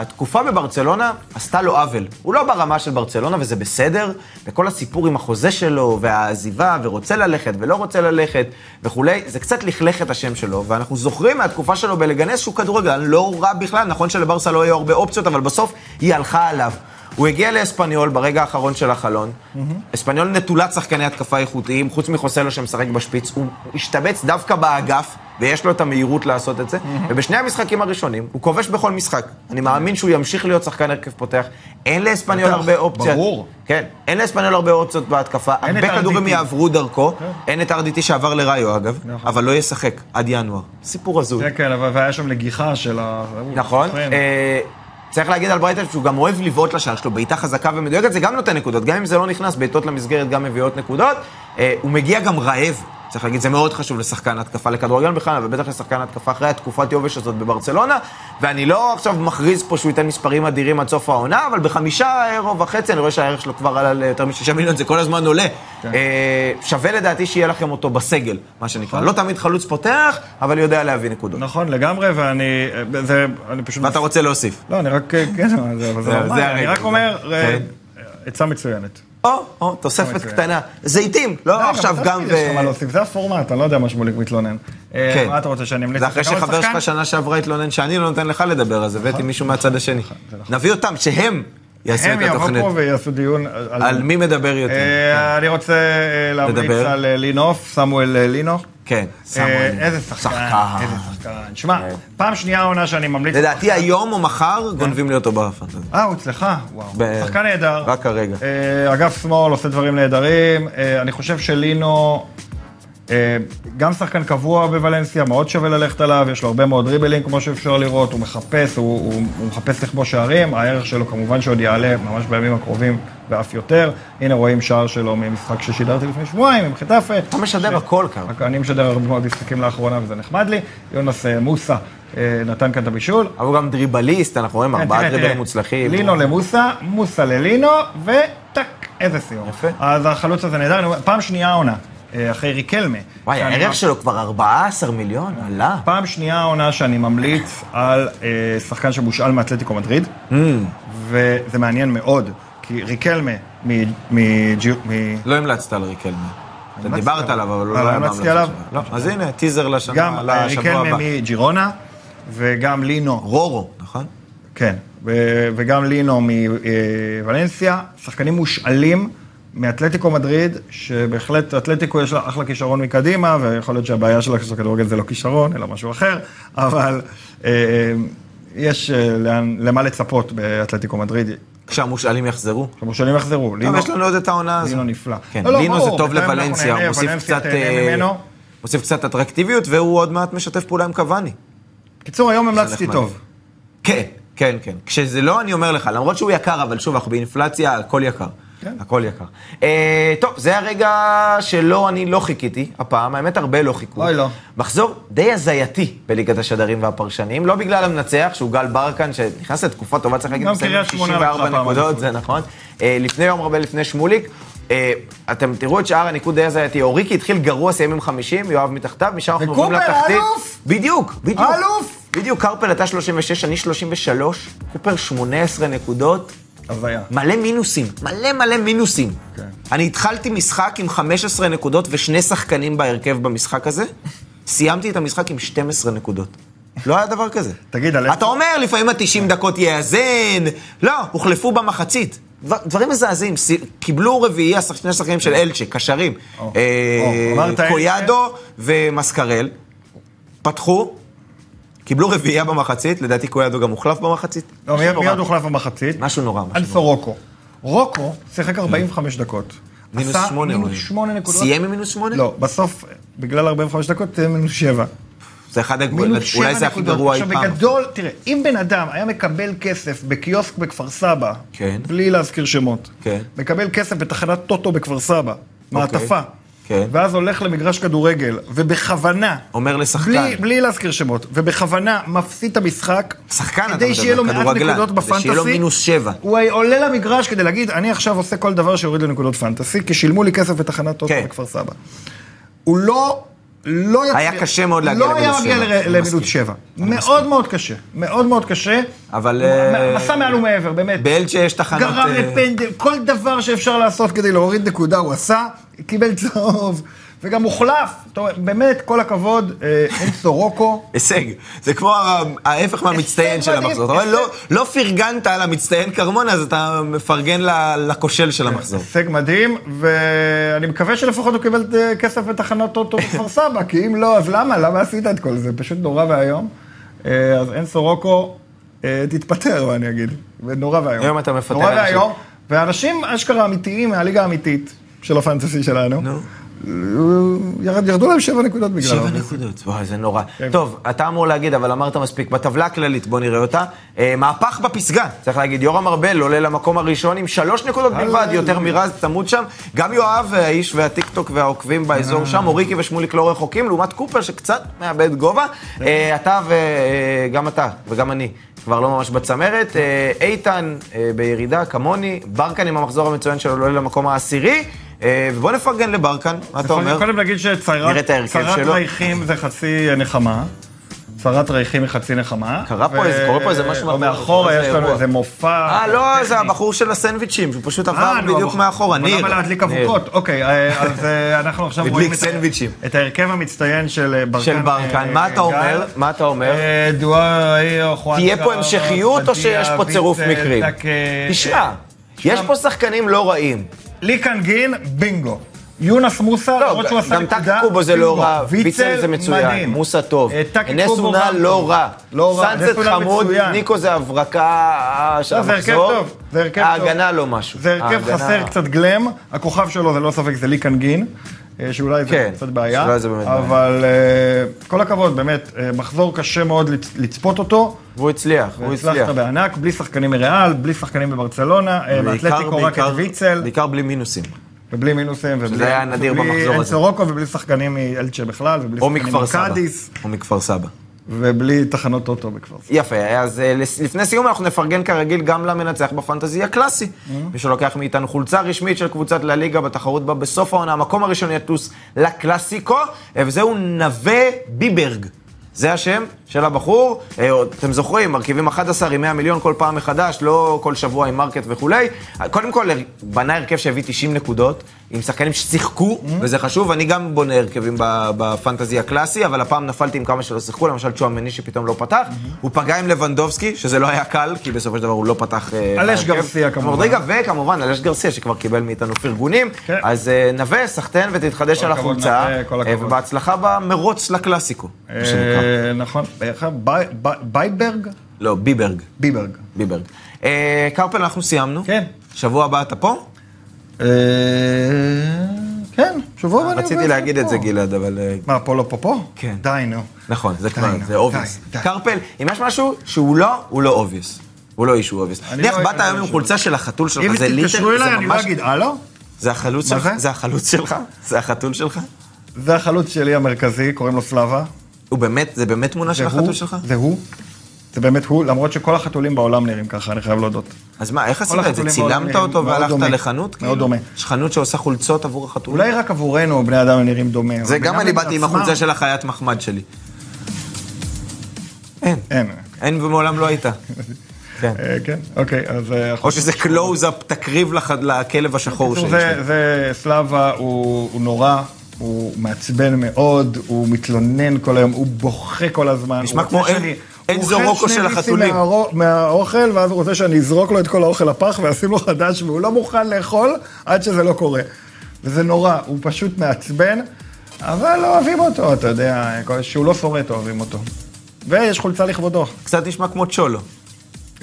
Speaker 1: התקופה בברצלונה עשתה לו עוול. הוא לא ברמה של ברצלונה, וזה בסדר, וכל הסיפור עם החוזה שלו, והעזיבה, ורוצה ללכת, ולא רוצה ללכת, וכולי, זה קצת לכלך את השם שלו, ואנחנו זוכרים מהתקופה שלו בלגנס שהוא כדורגלן לא רע בכלל, נכון שלברסה לא היו הרבה אופציות, אבל בסוף היא הלכה עליו. הוא הגיע לאספניול ברגע האחרון של החלון. אספניול נטולת שחקני התקפה איכותיים, חוץ מחוסלו שמשחק בשפיץ. הוא השתבץ דווקא באגף, ויש לו את המהירות לעשות את זה. ובשני המשחקים הראשונים, הוא כובש בכל משחק. אני מאמין שהוא ימשיך להיות שחקן הרכב פותח. אין לאספניול
Speaker 2: בטח,
Speaker 1: הרבה אופציות.
Speaker 2: ברור.
Speaker 1: כן, אין לאספניול הרבה אופציות בהתקפה.
Speaker 2: אין את
Speaker 1: הרבה כדורים
Speaker 2: RDT.
Speaker 1: יעברו דרכו. אין את RDT שעבר לראיו, אגב,
Speaker 2: נכון.
Speaker 1: אבל לא ישחק עד ינואר. סיפור הזוי.
Speaker 2: כן, זה כן, אבל והיה שם נגיחה של ה...
Speaker 1: נכון.
Speaker 2: סוכן.
Speaker 1: אה, צריך להגיד על ברייטל שהוא גם אוהב לבעוט לשער שלו, בעיטה חזקה ומדויקת, זה גם נותן נקודות. גם אם זה לא נכנס, בעיטות למסגרת גם מביאות נקודות. אה, הוא מגיע גם רעב, צריך להגיד, זה מאוד חשוב לשחקן התקפה לכדורגלן בכלל, ובטח לשחקן התקפה אחרי התקופת יובש הזאת בברצלונה. ואני לא עכשיו מכריז פה שהוא ייתן מספרים אדירים עד סוף העונה, אבל בחמישה אירו וחצי, אני רואה שהערך שלו כבר עלה ליותר משישה מיליון, זה כל הזמן עולה.
Speaker 2: כן.
Speaker 1: אה, שווה לדעתי שיהיה לכם אותו בסגל, מה שנקרא. לא תמיד חלוץ פותח, אבל יודע להביא נקודות.
Speaker 2: נכון, לגמרי, ואני... אה, זה, אני פשוט...
Speaker 1: ואתה רוצה להוסיף.
Speaker 2: לא, אני רק... כן, אבל זה- אבל זה
Speaker 1: זה
Speaker 2: נורמלי. אני
Speaker 1: הרגע.
Speaker 2: רק אומר, אה,
Speaker 1: כן.
Speaker 2: עצה מצוינת.
Speaker 1: או, או, תוספת
Speaker 2: מצוין.
Speaker 1: קטנה. זיתים, לא עכשיו גם...
Speaker 2: ו... יש לך
Speaker 1: ו-
Speaker 2: מה להוסיף, זה הפורמט, אני לא יודע מה שמוליק מתלונן. אה,
Speaker 1: כן.
Speaker 2: מה אתה רוצה שאני אמליץ?
Speaker 1: זה אחרי
Speaker 2: לך עוד
Speaker 1: שחבר
Speaker 2: שחקן?
Speaker 1: שלך שנה שעברה התלונן שאני לא נותן לך לדבר, אז
Speaker 2: נכון.
Speaker 1: הבאתי מישהו מהצד השני. נביא אותם, שהם יעשו את
Speaker 2: הם יבואו
Speaker 1: התוכנית.
Speaker 2: פה ויעשו דיון על...
Speaker 1: על מי מדבר יותר?
Speaker 2: אה, אני רוצה אה, להמליץ
Speaker 1: לדבר.
Speaker 2: על אה, לינוף, סמואל אה, לינו.
Speaker 1: כן,
Speaker 2: אה,
Speaker 1: סמואל.
Speaker 2: איזה שחקן,
Speaker 1: שחקן. כן.
Speaker 2: איזה שחקן. שמע, פעם שנייה העונה שאני ממליץ...
Speaker 1: לדעתי היום או מחר גונבים לי אותו בפנטזיה.
Speaker 2: אה, הוא אצלך? וואו.
Speaker 1: ב-
Speaker 2: שחקן נהדר.
Speaker 1: רק הרגע.
Speaker 2: אה, אגף שמאל עושה דברים נהדרים. אה, אני חושב שלינו, אה, גם שחקן קבוע בוולנסיה, מאוד שווה ללכת עליו, יש לו הרבה מאוד דריבלים, כמו שאפשר לראות, הוא מחפש, הוא, הוא, הוא מחפש לכבוש שערים, הערך שלו כמובן שעוד יעלה ממש בימים הקרובים ואף יותר. הנה רואים שער שלו ממשחק ששידרתי לפני שבועיים, עם חטאפה.
Speaker 1: אתה משדר הכל כאן.
Speaker 2: אני משדר הרבה מאוד משחקים לאחרונה וזה נחמד לי. יונס אה, מוסה אה, נתן כאן את הבישול.
Speaker 1: אבל הוא גם דריבליסט, אנחנו רואים ארבעה
Speaker 2: כן, תראה, תראה, לא-
Speaker 1: דריבלים מוצלחים.
Speaker 2: לינו למוסה, מוסה ללינו, וטק, איזה סיום.
Speaker 1: יפה.
Speaker 2: אז החלוץ הזה נהדר, אני אומר, פעם שנייה העונה, אה, אחרי ריקלמה.
Speaker 1: וואי,
Speaker 2: שאני לא-
Speaker 1: הערך
Speaker 2: ממ-
Speaker 1: שלו כבר 14 מיליון, עלה.
Speaker 2: פעם שנייה העונה שאני ממליץ על אה, שחקן שמושאל מאתלטיקו מדריד,
Speaker 1: Mm.
Speaker 2: וזה מעניין מאוד, כי ריקלמה מ- מג'י- מ...
Speaker 1: לא המלצת על ריקלמן. אתה
Speaker 2: המלצתי
Speaker 1: דיברת
Speaker 2: עליו.
Speaker 1: עליו, אבל הוא
Speaker 2: אה,
Speaker 1: לא
Speaker 2: לא
Speaker 1: היה
Speaker 2: המלצתי
Speaker 1: בהמלצה
Speaker 2: עליו?
Speaker 1: שלך. לא, אז הנה, טיזר לשנה,
Speaker 2: גם אה,
Speaker 1: לשבוע
Speaker 2: ריקלמה
Speaker 1: הבא.
Speaker 2: מג'ירונה, וגם לינו
Speaker 1: רורו, נכון?
Speaker 2: כן, ו- וגם לינו מוולנסיה, שחקנים מושאלים מאתלטיקו מדריד, שבהחלט אתלטיקו יש לה אחלה כישרון מקדימה, ויכול להיות שהבעיה שלה כשזה כדורגל זה לא כישרון, אלא משהו אחר, <laughs> אבל אה, יש אה, לאן- למה לצפות באתלטיקו מדריד.
Speaker 1: כשהמושאלים יחזרו.
Speaker 2: המושאלים יחזרו,
Speaker 1: טוב,
Speaker 2: לינו,
Speaker 1: יש לנו עוד את העונה הזו.
Speaker 2: לינו נפלא.
Speaker 1: כן,
Speaker 2: לא, לא,
Speaker 1: לינו
Speaker 2: ברור,
Speaker 1: זה טוב
Speaker 2: בינתיים אנחנו
Speaker 1: לוולנסיה,
Speaker 2: נהנה,
Speaker 1: הוא מוסיף
Speaker 2: ולנסיה
Speaker 1: קצת...
Speaker 2: תהנה
Speaker 1: אה,
Speaker 2: ממנו.
Speaker 1: מוסיף קצת אטרקטיביות, והוא עוד מעט משתף פעולה עם קוואני.
Speaker 2: קיצור, היום המלצתי
Speaker 1: נחמד.
Speaker 2: טוב.
Speaker 1: כן, כן, כן. כשזה לא, אני אומר לך, למרות שהוא יקר, אבל שוב, אנחנו באינפלציה, הכל יקר.
Speaker 2: כן.
Speaker 1: הכל יקר. אה, טוב, זה הרגע שלא, אני לא חיכיתי הפעם, האמת, הרבה לא חיכו.
Speaker 2: אוי, לא.
Speaker 1: מחזור די הזייתי בליגת השדרים והפרשנים, לא בגלל המנצח, שהוא גל ברקן, שנכנס לתקופה טובה, צריך להגיד,
Speaker 2: גם
Speaker 1: מסיים עם
Speaker 2: קריית שמונה לקחה
Speaker 1: 64
Speaker 2: פעם
Speaker 1: נקודות,
Speaker 2: אליפות.
Speaker 1: זה נכון. אה, לפני יום הרבה לפני שמוליק, אה, אתם תראו את שאר הניקוד די הזייתי. אוריקי התחיל גרוע, סיים עם 50, יואב מתחתיו, משם אנחנו עוברים
Speaker 2: וקופר,
Speaker 1: לתחתית.
Speaker 2: אלוף!
Speaker 1: בדיוק, בדיוק.
Speaker 2: אלוף!
Speaker 1: בדיוק, קרפל אתה 36, אני 33, קופר 18 נקודות,
Speaker 2: הזיה. לא,
Speaker 1: מלא מינוסים, מלא מלא מינוסים.
Speaker 2: כן.
Speaker 1: אני התחלתי משחק עם 15 נקודות ושני שחקנים בהרכב במשחק הזה, סיימתי את המשחק עם 12 נקודות. לא היה דבר כזה.
Speaker 2: תגיד, על כן.
Speaker 1: אתה אומר, לפעמים ה-90 דקות יאזן, לא, הוחלפו במחצית. דבר- דברים מזעזעים, סי- קיבלו רביעי השח- שני השחקנים של אלצ'ה, קשרים,
Speaker 2: כן. או,
Speaker 1: אה,
Speaker 2: או, אמרת אלצ'ה?
Speaker 1: קויאדו ומסקרל, פתחו, קיבלו רביעייה במחצית, לדעתי קויאדו גם הוחלף במחצית.
Speaker 2: לא, מי
Speaker 1: משהו
Speaker 2: מי
Speaker 1: נורא.
Speaker 2: עוד הוחלף במחצית?
Speaker 1: משהו נורא, משהו
Speaker 2: אנסו רוקו. רוקו שיחק 45 דקות.
Speaker 1: מינוס
Speaker 2: עשה
Speaker 1: שמונה,
Speaker 2: מינוס
Speaker 1: אולי.
Speaker 2: 8 נקודות.
Speaker 1: סיים עם מינוס שמונה?
Speaker 2: לא, בסוף, בגלל 45 דקות, תהיה מינוס 7.
Speaker 1: זה אחד הגבולות,
Speaker 2: מינוס 7
Speaker 1: אולי זה הכי גרוע אי
Speaker 2: עכשיו,
Speaker 1: פעם.
Speaker 2: בגדול, תראה, אם בן אדם היה מקבל כסף בקיוסק בכפר סבא,
Speaker 1: כן.
Speaker 2: בלי להזכיר שמות,
Speaker 1: כן. אוקיי.
Speaker 2: מקבל כסף בתחנת טוטו בכפר סבא, מעטפה,
Speaker 1: כן.
Speaker 2: ואז הולך למגרש כדורגל, ובכוונה,
Speaker 1: אומר לשחקן.
Speaker 2: בלי- בלי להזכיר שמות, ובכוונה מפסיד את המשחק,
Speaker 1: שחקן, אתה
Speaker 2: כדי
Speaker 1: מדבר,
Speaker 2: שיהיה לו מעט
Speaker 1: כדורגלן,
Speaker 2: נקודות
Speaker 1: כדי שיהיה
Speaker 2: בפנטסי,
Speaker 1: לו מינוס שבע.
Speaker 2: הוא עולה למגרש כדי להגיד, אני עכשיו עושה כל דבר שיוריד לי נקודות פנטסי, כי שילמו לי כסף בתחנת טוטו
Speaker 1: כן.
Speaker 2: בכפר סבא. הוא לא... לא יצליח-
Speaker 1: היה קשה מאוד להגיע
Speaker 2: לא היה
Speaker 1: למינוס
Speaker 2: מגיע
Speaker 1: שבע.
Speaker 2: ל-
Speaker 1: אני
Speaker 2: למינוס
Speaker 1: מסכים.
Speaker 2: שבע. מאוד מאוד קשה. מאוד מאוד קשה.
Speaker 1: אבל, אה,
Speaker 2: הוא עשה מעל ומעבר, באמת.
Speaker 1: באלצ'ה יש תחנות...
Speaker 2: גרם
Speaker 1: אה,
Speaker 2: לפנדל, כל דבר שאפשר לעשות כדי להוריד נקודה הוא עשה, קיבל צהוב, וגם הוחלף. זאת אומרת, באמת, כל הכבוד, אה, אין סורוקו.
Speaker 1: הישג. זה כמו ה- ההפך מהמצטיין של
Speaker 2: מדהים,
Speaker 1: המחזור. אתה רואה,
Speaker 2: הישג.
Speaker 1: לא- לא פרגנת על המצטיין קרמון, אז אתה מפרגן ל- לכושל של המחזור.
Speaker 2: הישג מדהים, ואני מקווה שלפחות הוא קיבל אה, כסף בתחנת טוטו בכפר סבא, כי אם לא, אז למה? למה עשית את כל זה? פשוט נורא ואיום. אה, אז אין סורוקו, אה, תתפטר, מה אני אגיד. ונורא ואיום.
Speaker 1: היום אתה מפטר
Speaker 2: נורא
Speaker 1: אנשים.
Speaker 2: ואיום. ואנשים אשכרה אמיתיים מהליגה האמיתית של הפנטסי שלנו, אה, ירד- ירדו להם שבע נקודות בגללו.
Speaker 1: שבע נקודות, וואי, זה נורא. טוב, אתה אמור להגיד, אבל אמרת מספיק. בטבלה הכללית, בוא נראה אותה. אה, מהפך בפסגה, צריך להגיד. יורם ארבל עולה למקום הראשון עם שלוש נקודות בלבד, יותר מרז צמוד שם. גם יואב, אה, האיש והטיקטוק והעוקבים באזור שם, אוריקי ושמוליק לא רחוקים, לעומת קופר שקצת מאבד גובה. אה, אתה וגם אתה, וגם אני, כבר לא ממש בצמרת. אה, איתן אה, בירידה, כמוני. ברקן עם המחזור המצוין שלו עולה למקום העשירי. אה, ובוא נפרגן לברקן, מה אתה אומר?
Speaker 2: נכון, קודם נגיד
Speaker 1: נראה את ההרכב
Speaker 2: שצרת
Speaker 1: שלו.
Speaker 2: רייכים זה חצי אה, נחמה. צרת רייכים היא חצי נחמה.
Speaker 1: קרה פה איזה- קורה פה איזה משהו
Speaker 2: או
Speaker 1: מאחורה,
Speaker 2: מאחורה
Speaker 1: איזה
Speaker 2: יש לנו
Speaker 1: אירוע.
Speaker 2: איזה מופע.
Speaker 1: אה, לא, זה
Speaker 2: טכני.
Speaker 1: הבחור של הסנדוויצ'ים, שהוא פשוט
Speaker 2: אה,
Speaker 1: עבר
Speaker 2: נו,
Speaker 1: בדיוק
Speaker 2: הבחור.
Speaker 1: מאחורה, ניר.
Speaker 2: אבל למה להדליק
Speaker 1: ניר.
Speaker 2: אבוקות? אוקיי, אה, אז אה, אנחנו עכשיו
Speaker 1: הדליק
Speaker 2: רואים את-
Speaker 1: סנדוויצ'ים.
Speaker 2: את ההרכב המצטיין של אה, ברקן.
Speaker 1: של ברקן,
Speaker 2: אה,
Speaker 1: מה אתה
Speaker 2: גל.
Speaker 1: אומר? מה אתה אומר?
Speaker 2: אה, דוארי, או חואן
Speaker 1: תהיה פה
Speaker 2: קארלוס,
Speaker 1: המשכיות או
Speaker 2: בדיה,
Speaker 1: שיש פה
Speaker 2: ויצל,
Speaker 1: צירוף מקרים?
Speaker 2: טק, אה,
Speaker 1: תשמע, יש פה שחקנים לא רעים.
Speaker 2: ליקן גין, בינגו. יונס מוסה,
Speaker 1: לא,
Speaker 2: למרות שהוא עשה
Speaker 1: גם
Speaker 2: נקודה,
Speaker 1: טקי קובו זה לא
Speaker 2: בינגו.
Speaker 1: רע, ויצל זה מצוין,
Speaker 2: מדהים.
Speaker 1: מוסה טוב,
Speaker 2: אה, טקי
Speaker 1: נס
Speaker 2: קובו
Speaker 1: אונה
Speaker 2: גם טוב.
Speaker 1: לא רע,
Speaker 2: לא רע, נס
Speaker 1: סנסט
Speaker 2: אונה
Speaker 1: חמוד,
Speaker 2: מצוין.
Speaker 1: ניקו זה הברקה של
Speaker 2: לא, זה הרכב
Speaker 1: המחזור,
Speaker 2: טוב, זה הרכב טוב.
Speaker 1: ההגנה לא משהו,
Speaker 2: זה הרכב
Speaker 1: ההגנה-
Speaker 2: חסר קצת גלם, הכוכב שלו זה לא ספק זה ליקן גין, אה, שאולי זה
Speaker 1: כן,
Speaker 2: קצת בעיה,
Speaker 1: שאולי זה באמת בעיה.
Speaker 2: אבל אה, כל הכבוד, באמת, אה, מחזור קשה מאוד לצ- לצפות אותו.
Speaker 1: והוא הצליח, הוא הצליח,
Speaker 2: הצלחת בענק, בלי שחקנים מריאל, בלי שחקנים בברצלונה, אה, באתלטיקו רק את
Speaker 1: בעיקר-
Speaker 2: ויצל,
Speaker 1: בעיקר בלי מינוסים,
Speaker 2: ובלי מינוסים, ובלי
Speaker 1: שזה היה נדיר
Speaker 2: ובלי
Speaker 1: במחזור
Speaker 2: אין
Speaker 1: הזה.
Speaker 2: סורוקו, ובלי שחקנים מאלצ'ה בכלל, ובלי
Speaker 1: או
Speaker 2: שחקנים
Speaker 1: מכפר סבא,
Speaker 2: מקאדיס,
Speaker 1: או מכפר סבא.
Speaker 2: ובלי תחנות אוטו בכפר סבא.
Speaker 1: יפה, אז אה, לס- לפני סיום אנחנו נפרגן כרגיל גם למנצח בפנטזי הקלאסי. מי שלוקח מאיתנו חולצה רשמית של קבוצת לה ליגה בתחרות בה בסוף העונה, המקום הראשון יטוס לקלאסיקו, אה, וזהו נווה ביברג. זה השם של הבחור. אה, עוד- אתם זוכרים, מרכיבים 11 עם 100 מיליון כל פעם מחדש, לא כל שבוע עם מרקט וכולי. אה, קודם כל, הר- בנה הרכב שהביא 90 נקודות, עם שחקנים ששיחקו, וזה חשוב, אני גם בונה הרכבים ב- בפנטזי הקלאסי, אבל הפעם נפלתי עם כמה שלא שיחקו, למשל צ'ואמני שפתאום לא פתח, הוא פגע עם לבנדובסקי, שזה לא היה קל, כי בסופו של דבר הוא לא פתח... אה,
Speaker 2: אלש
Speaker 1: בהרכב.
Speaker 2: גרסיה, כמובן.
Speaker 1: רודריגה, וכמובן אלש גרסיה, שכבר קיבל מאיתנו פרגונים,
Speaker 2: כן.
Speaker 1: אז אה, נווה, סחטיין ותתחדש
Speaker 2: כל
Speaker 1: על
Speaker 2: הכבוד,
Speaker 1: החולצה,
Speaker 2: נווה, כל
Speaker 1: אה,
Speaker 2: הכבוד.
Speaker 1: ובהצלחה במרוץ לקלאסיקו, מה שנקרא.
Speaker 2: אה, נכון, איך ה- בי- בי- בייברג?
Speaker 1: לא, ביברג.
Speaker 2: ביברג.
Speaker 1: ביברג. אה, קרפל, אנחנו סיימנו.
Speaker 2: כן.
Speaker 1: שבוע הבא אתה פה?
Speaker 2: אה, כן, שבוע הבא אני עובד כן,
Speaker 1: רציתי להגיד
Speaker 2: פה.
Speaker 1: את זה, גלעד, אבל... אה,
Speaker 2: מה, פה לא פה פה?
Speaker 1: כן.
Speaker 2: די, נו.
Speaker 1: נכון, זה כבר,
Speaker 2: נו,
Speaker 1: זה
Speaker 2: די,
Speaker 1: אובייס.
Speaker 2: די.
Speaker 1: קרפל, אם יש משהו שהוא לא, הוא לא אובייס. הוא לא אישו אובייס.
Speaker 2: אני
Speaker 1: נניח
Speaker 2: לא-
Speaker 1: באת
Speaker 2: אני
Speaker 1: היום
Speaker 2: לא
Speaker 1: עם
Speaker 2: איש
Speaker 1: חולצה של החתול שלך,
Speaker 2: אם
Speaker 1: זה ליטר,
Speaker 2: תתקשרו אליי,
Speaker 1: זה
Speaker 2: אני לא
Speaker 1: ממש...
Speaker 2: אגיד, הלו?
Speaker 1: זה החלוץ
Speaker 2: מה
Speaker 1: שלך?
Speaker 2: זה?
Speaker 1: זה החלוץ שלך? זה החתול שלך?
Speaker 2: זה החלוץ שלי המרכזי, קוראים לו סלאבה.
Speaker 1: הוא באמת, זה באמת תמונה של
Speaker 2: זה
Speaker 1: החתול
Speaker 2: הוא,
Speaker 1: שלך?
Speaker 2: זה הוא. זה באמת הוא, למרות שכל החתולים בעולם נראים ככה, אני חייב להודות.
Speaker 1: אז מה, איך עשית את זה?
Speaker 2: החתולים מאוד
Speaker 1: צילמת אותו
Speaker 2: דומים, מאוד
Speaker 1: והלכת
Speaker 2: דומה.
Speaker 1: לחנות?
Speaker 2: מאוד
Speaker 1: כאילו?
Speaker 2: דומה.
Speaker 1: יש חנות שעושה חולצות עבור החתול?
Speaker 2: אולי רק עבורנו בני אדם נראים דומה. אבל
Speaker 1: זה גם
Speaker 2: בינם
Speaker 1: אני באתי עם
Speaker 2: לעצמם-
Speaker 1: החולצה של החיית מחמד שלי. אין.
Speaker 2: אין.
Speaker 1: אין ומעולם לא
Speaker 2: <laughs>
Speaker 1: הייתה. כן.
Speaker 2: אה, כן, אוקיי, אז... אה,
Speaker 1: או שזה קלוז-אפ, תקריב לח- לכלב השחור
Speaker 2: בקיצור,
Speaker 1: שלי.
Speaker 2: זה, זה סלאבה, הוא, הוא נורא, הוא מעצבן מאוד, הוא מתלונן כל היום, הוא בוכה כל הזמן.
Speaker 1: נשמע
Speaker 2: הוא
Speaker 1: כמו
Speaker 2: רוצה
Speaker 1: אין-
Speaker 2: שאני-
Speaker 1: אין
Speaker 2: הוא
Speaker 1: זו
Speaker 2: אוכל
Speaker 1: רוקו
Speaker 2: שני
Speaker 1: של
Speaker 2: ביסים
Speaker 1: החתולים.
Speaker 2: מהאור- מהאוכל, ואז הוא רוצה שאני אזרוק לו את כל האוכל לפח ואשים לו חדש, והוא לא מוכן לאכול עד שזה לא קורה. וזה נורא, הוא פשוט מעצבן, אבל לא אוהבים אותו, אתה יודע, כל- שהוא לא שורד אוהבים אותו. ויש חולצה לכבודו.
Speaker 1: קצת נשמע כמו צ'ולו.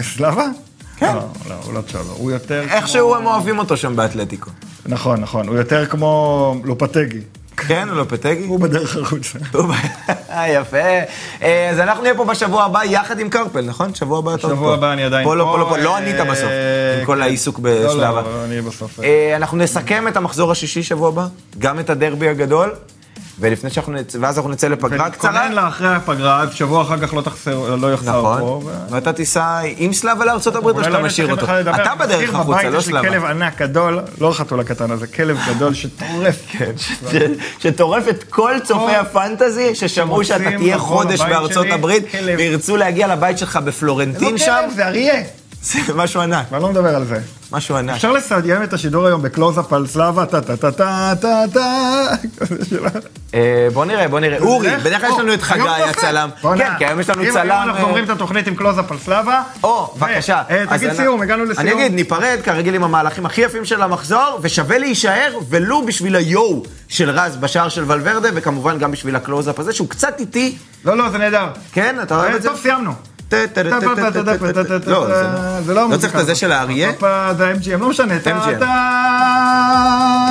Speaker 2: סלאבה?
Speaker 1: כן.
Speaker 2: לא, לא, הוא לא צ'ולו, הוא יותר...
Speaker 1: איכשהו הם אוהבים אותו שם באתלטיקו.
Speaker 2: נכון, נכון, הוא יותר כמו לופטגי.
Speaker 1: כן, לופטגי?
Speaker 2: הוא בדרך החוצה.
Speaker 1: הוא ב- יפה. אה, אז אנחנו נהיה פה בשבוע הבא יחד עם קרפל, נכון? שבוע הבא אתה עוד פה.
Speaker 2: שבוע הבא אני עדיין
Speaker 1: פה. לא, פה לא, פה לא
Speaker 2: אה,
Speaker 1: ענית בסוף,
Speaker 2: אה,
Speaker 1: עם כל
Speaker 2: כן.
Speaker 1: העיסוק
Speaker 2: לא,
Speaker 1: בשלב ה...
Speaker 2: לא, אני בסוף.
Speaker 1: אה, אנחנו נסכם את המחזור השישי שבוע הבא, גם את הדרבי הגדול, ולפני שאנחנו נצא, ואז אנחנו נצא לפגרה קצרה.
Speaker 2: ונתכונן לאחרי הפגרה, אז שבוע אחר כך לא תחסר, לא יחסר פה.
Speaker 1: נכון,
Speaker 2: ו-
Speaker 1: ואתה תיסע עם סלאבה לארה"ב או
Speaker 2: אולי
Speaker 1: שאתה
Speaker 2: לא
Speaker 1: משאיר
Speaker 2: נצטרך
Speaker 1: אותו?
Speaker 2: בכלל לדבר.
Speaker 1: אתה
Speaker 2: אני
Speaker 1: בדרך
Speaker 2: מזכיר,
Speaker 1: החוצה, לא
Speaker 2: בבית יש לי
Speaker 1: סלאבה.
Speaker 2: כלב ענק גדול, לא החתול הקטן הזה, כלב גדול
Speaker 1: <laughs>
Speaker 2: שטורף.
Speaker 1: כן. ש- שטורף את כל צופי הפנטזי ששמעו
Speaker 2: שמוצאים
Speaker 1: שאתה תהיה
Speaker 2: נכון,
Speaker 1: חודש
Speaker 2: הבית
Speaker 1: בארצות
Speaker 2: שלי,
Speaker 1: הברית,
Speaker 2: כלב.
Speaker 1: וירצו להגיע לבית שלך
Speaker 2: זה
Speaker 1: בפלורנטין
Speaker 2: לא
Speaker 1: שם, אה.
Speaker 2: כלב, זה אריה.
Speaker 1: זה משהו ענק,
Speaker 2: אבל לא מדבר על זה.
Speaker 1: משהו ענק.
Speaker 2: אפשר לסיים את השידור היום בקלוזאפ על סלאבה, טה טה טה טה טה טה.
Speaker 1: אה, בוא נראה, בוא נראה. אורי,
Speaker 2: לך,
Speaker 1: בדרך כלל יש לנו את
Speaker 2: או,
Speaker 1: חגי
Speaker 2: היום נעשה.
Speaker 1: הצלם.
Speaker 2: בוא'נה.
Speaker 1: כן, כי היום יש לנו
Speaker 2: אם-
Speaker 1: צלם.
Speaker 2: אם אנחנו
Speaker 1: אה,
Speaker 2: אומרים את התוכנית עם קלוזאפ על סלאבה.
Speaker 1: או,
Speaker 2: ו-
Speaker 1: בבקשה.
Speaker 2: אה,
Speaker 1: אז
Speaker 2: תגיד
Speaker 1: אנחנו-
Speaker 2: סיום, הגענו לסיום.
Speaker 1: אני אגיד, ניפרד כרגיל עם המהלכים הכי יפים של המחזור, ושווה להישאר, ולו בשביל היואו של רז בשער של ולוורדה, וכמובן גם בשביל הקלוזאפ הזה, שהוא קצת איטי,
Speaker 2: לא, לא, זה נהדר.
Speaker 1: כן? אתה אוהב
Speaker 2: אה,
Speaker 1: את זה? לא,
Speaker 2: טוב, סיימנו.
Speaker 1: טה, טה, טה, טה, טה, טה, טה, טה. לא, זה לא.
Speaker 2: זה לא
Speaker 1: לא צריך את
Speaker 2: המוזיקה
Speaker 1: זה של האריה?
Speaker 2: הזאת. זה MGM, לא משנה. טה,
Speaker 1: MGM.
Speaker 2: טה.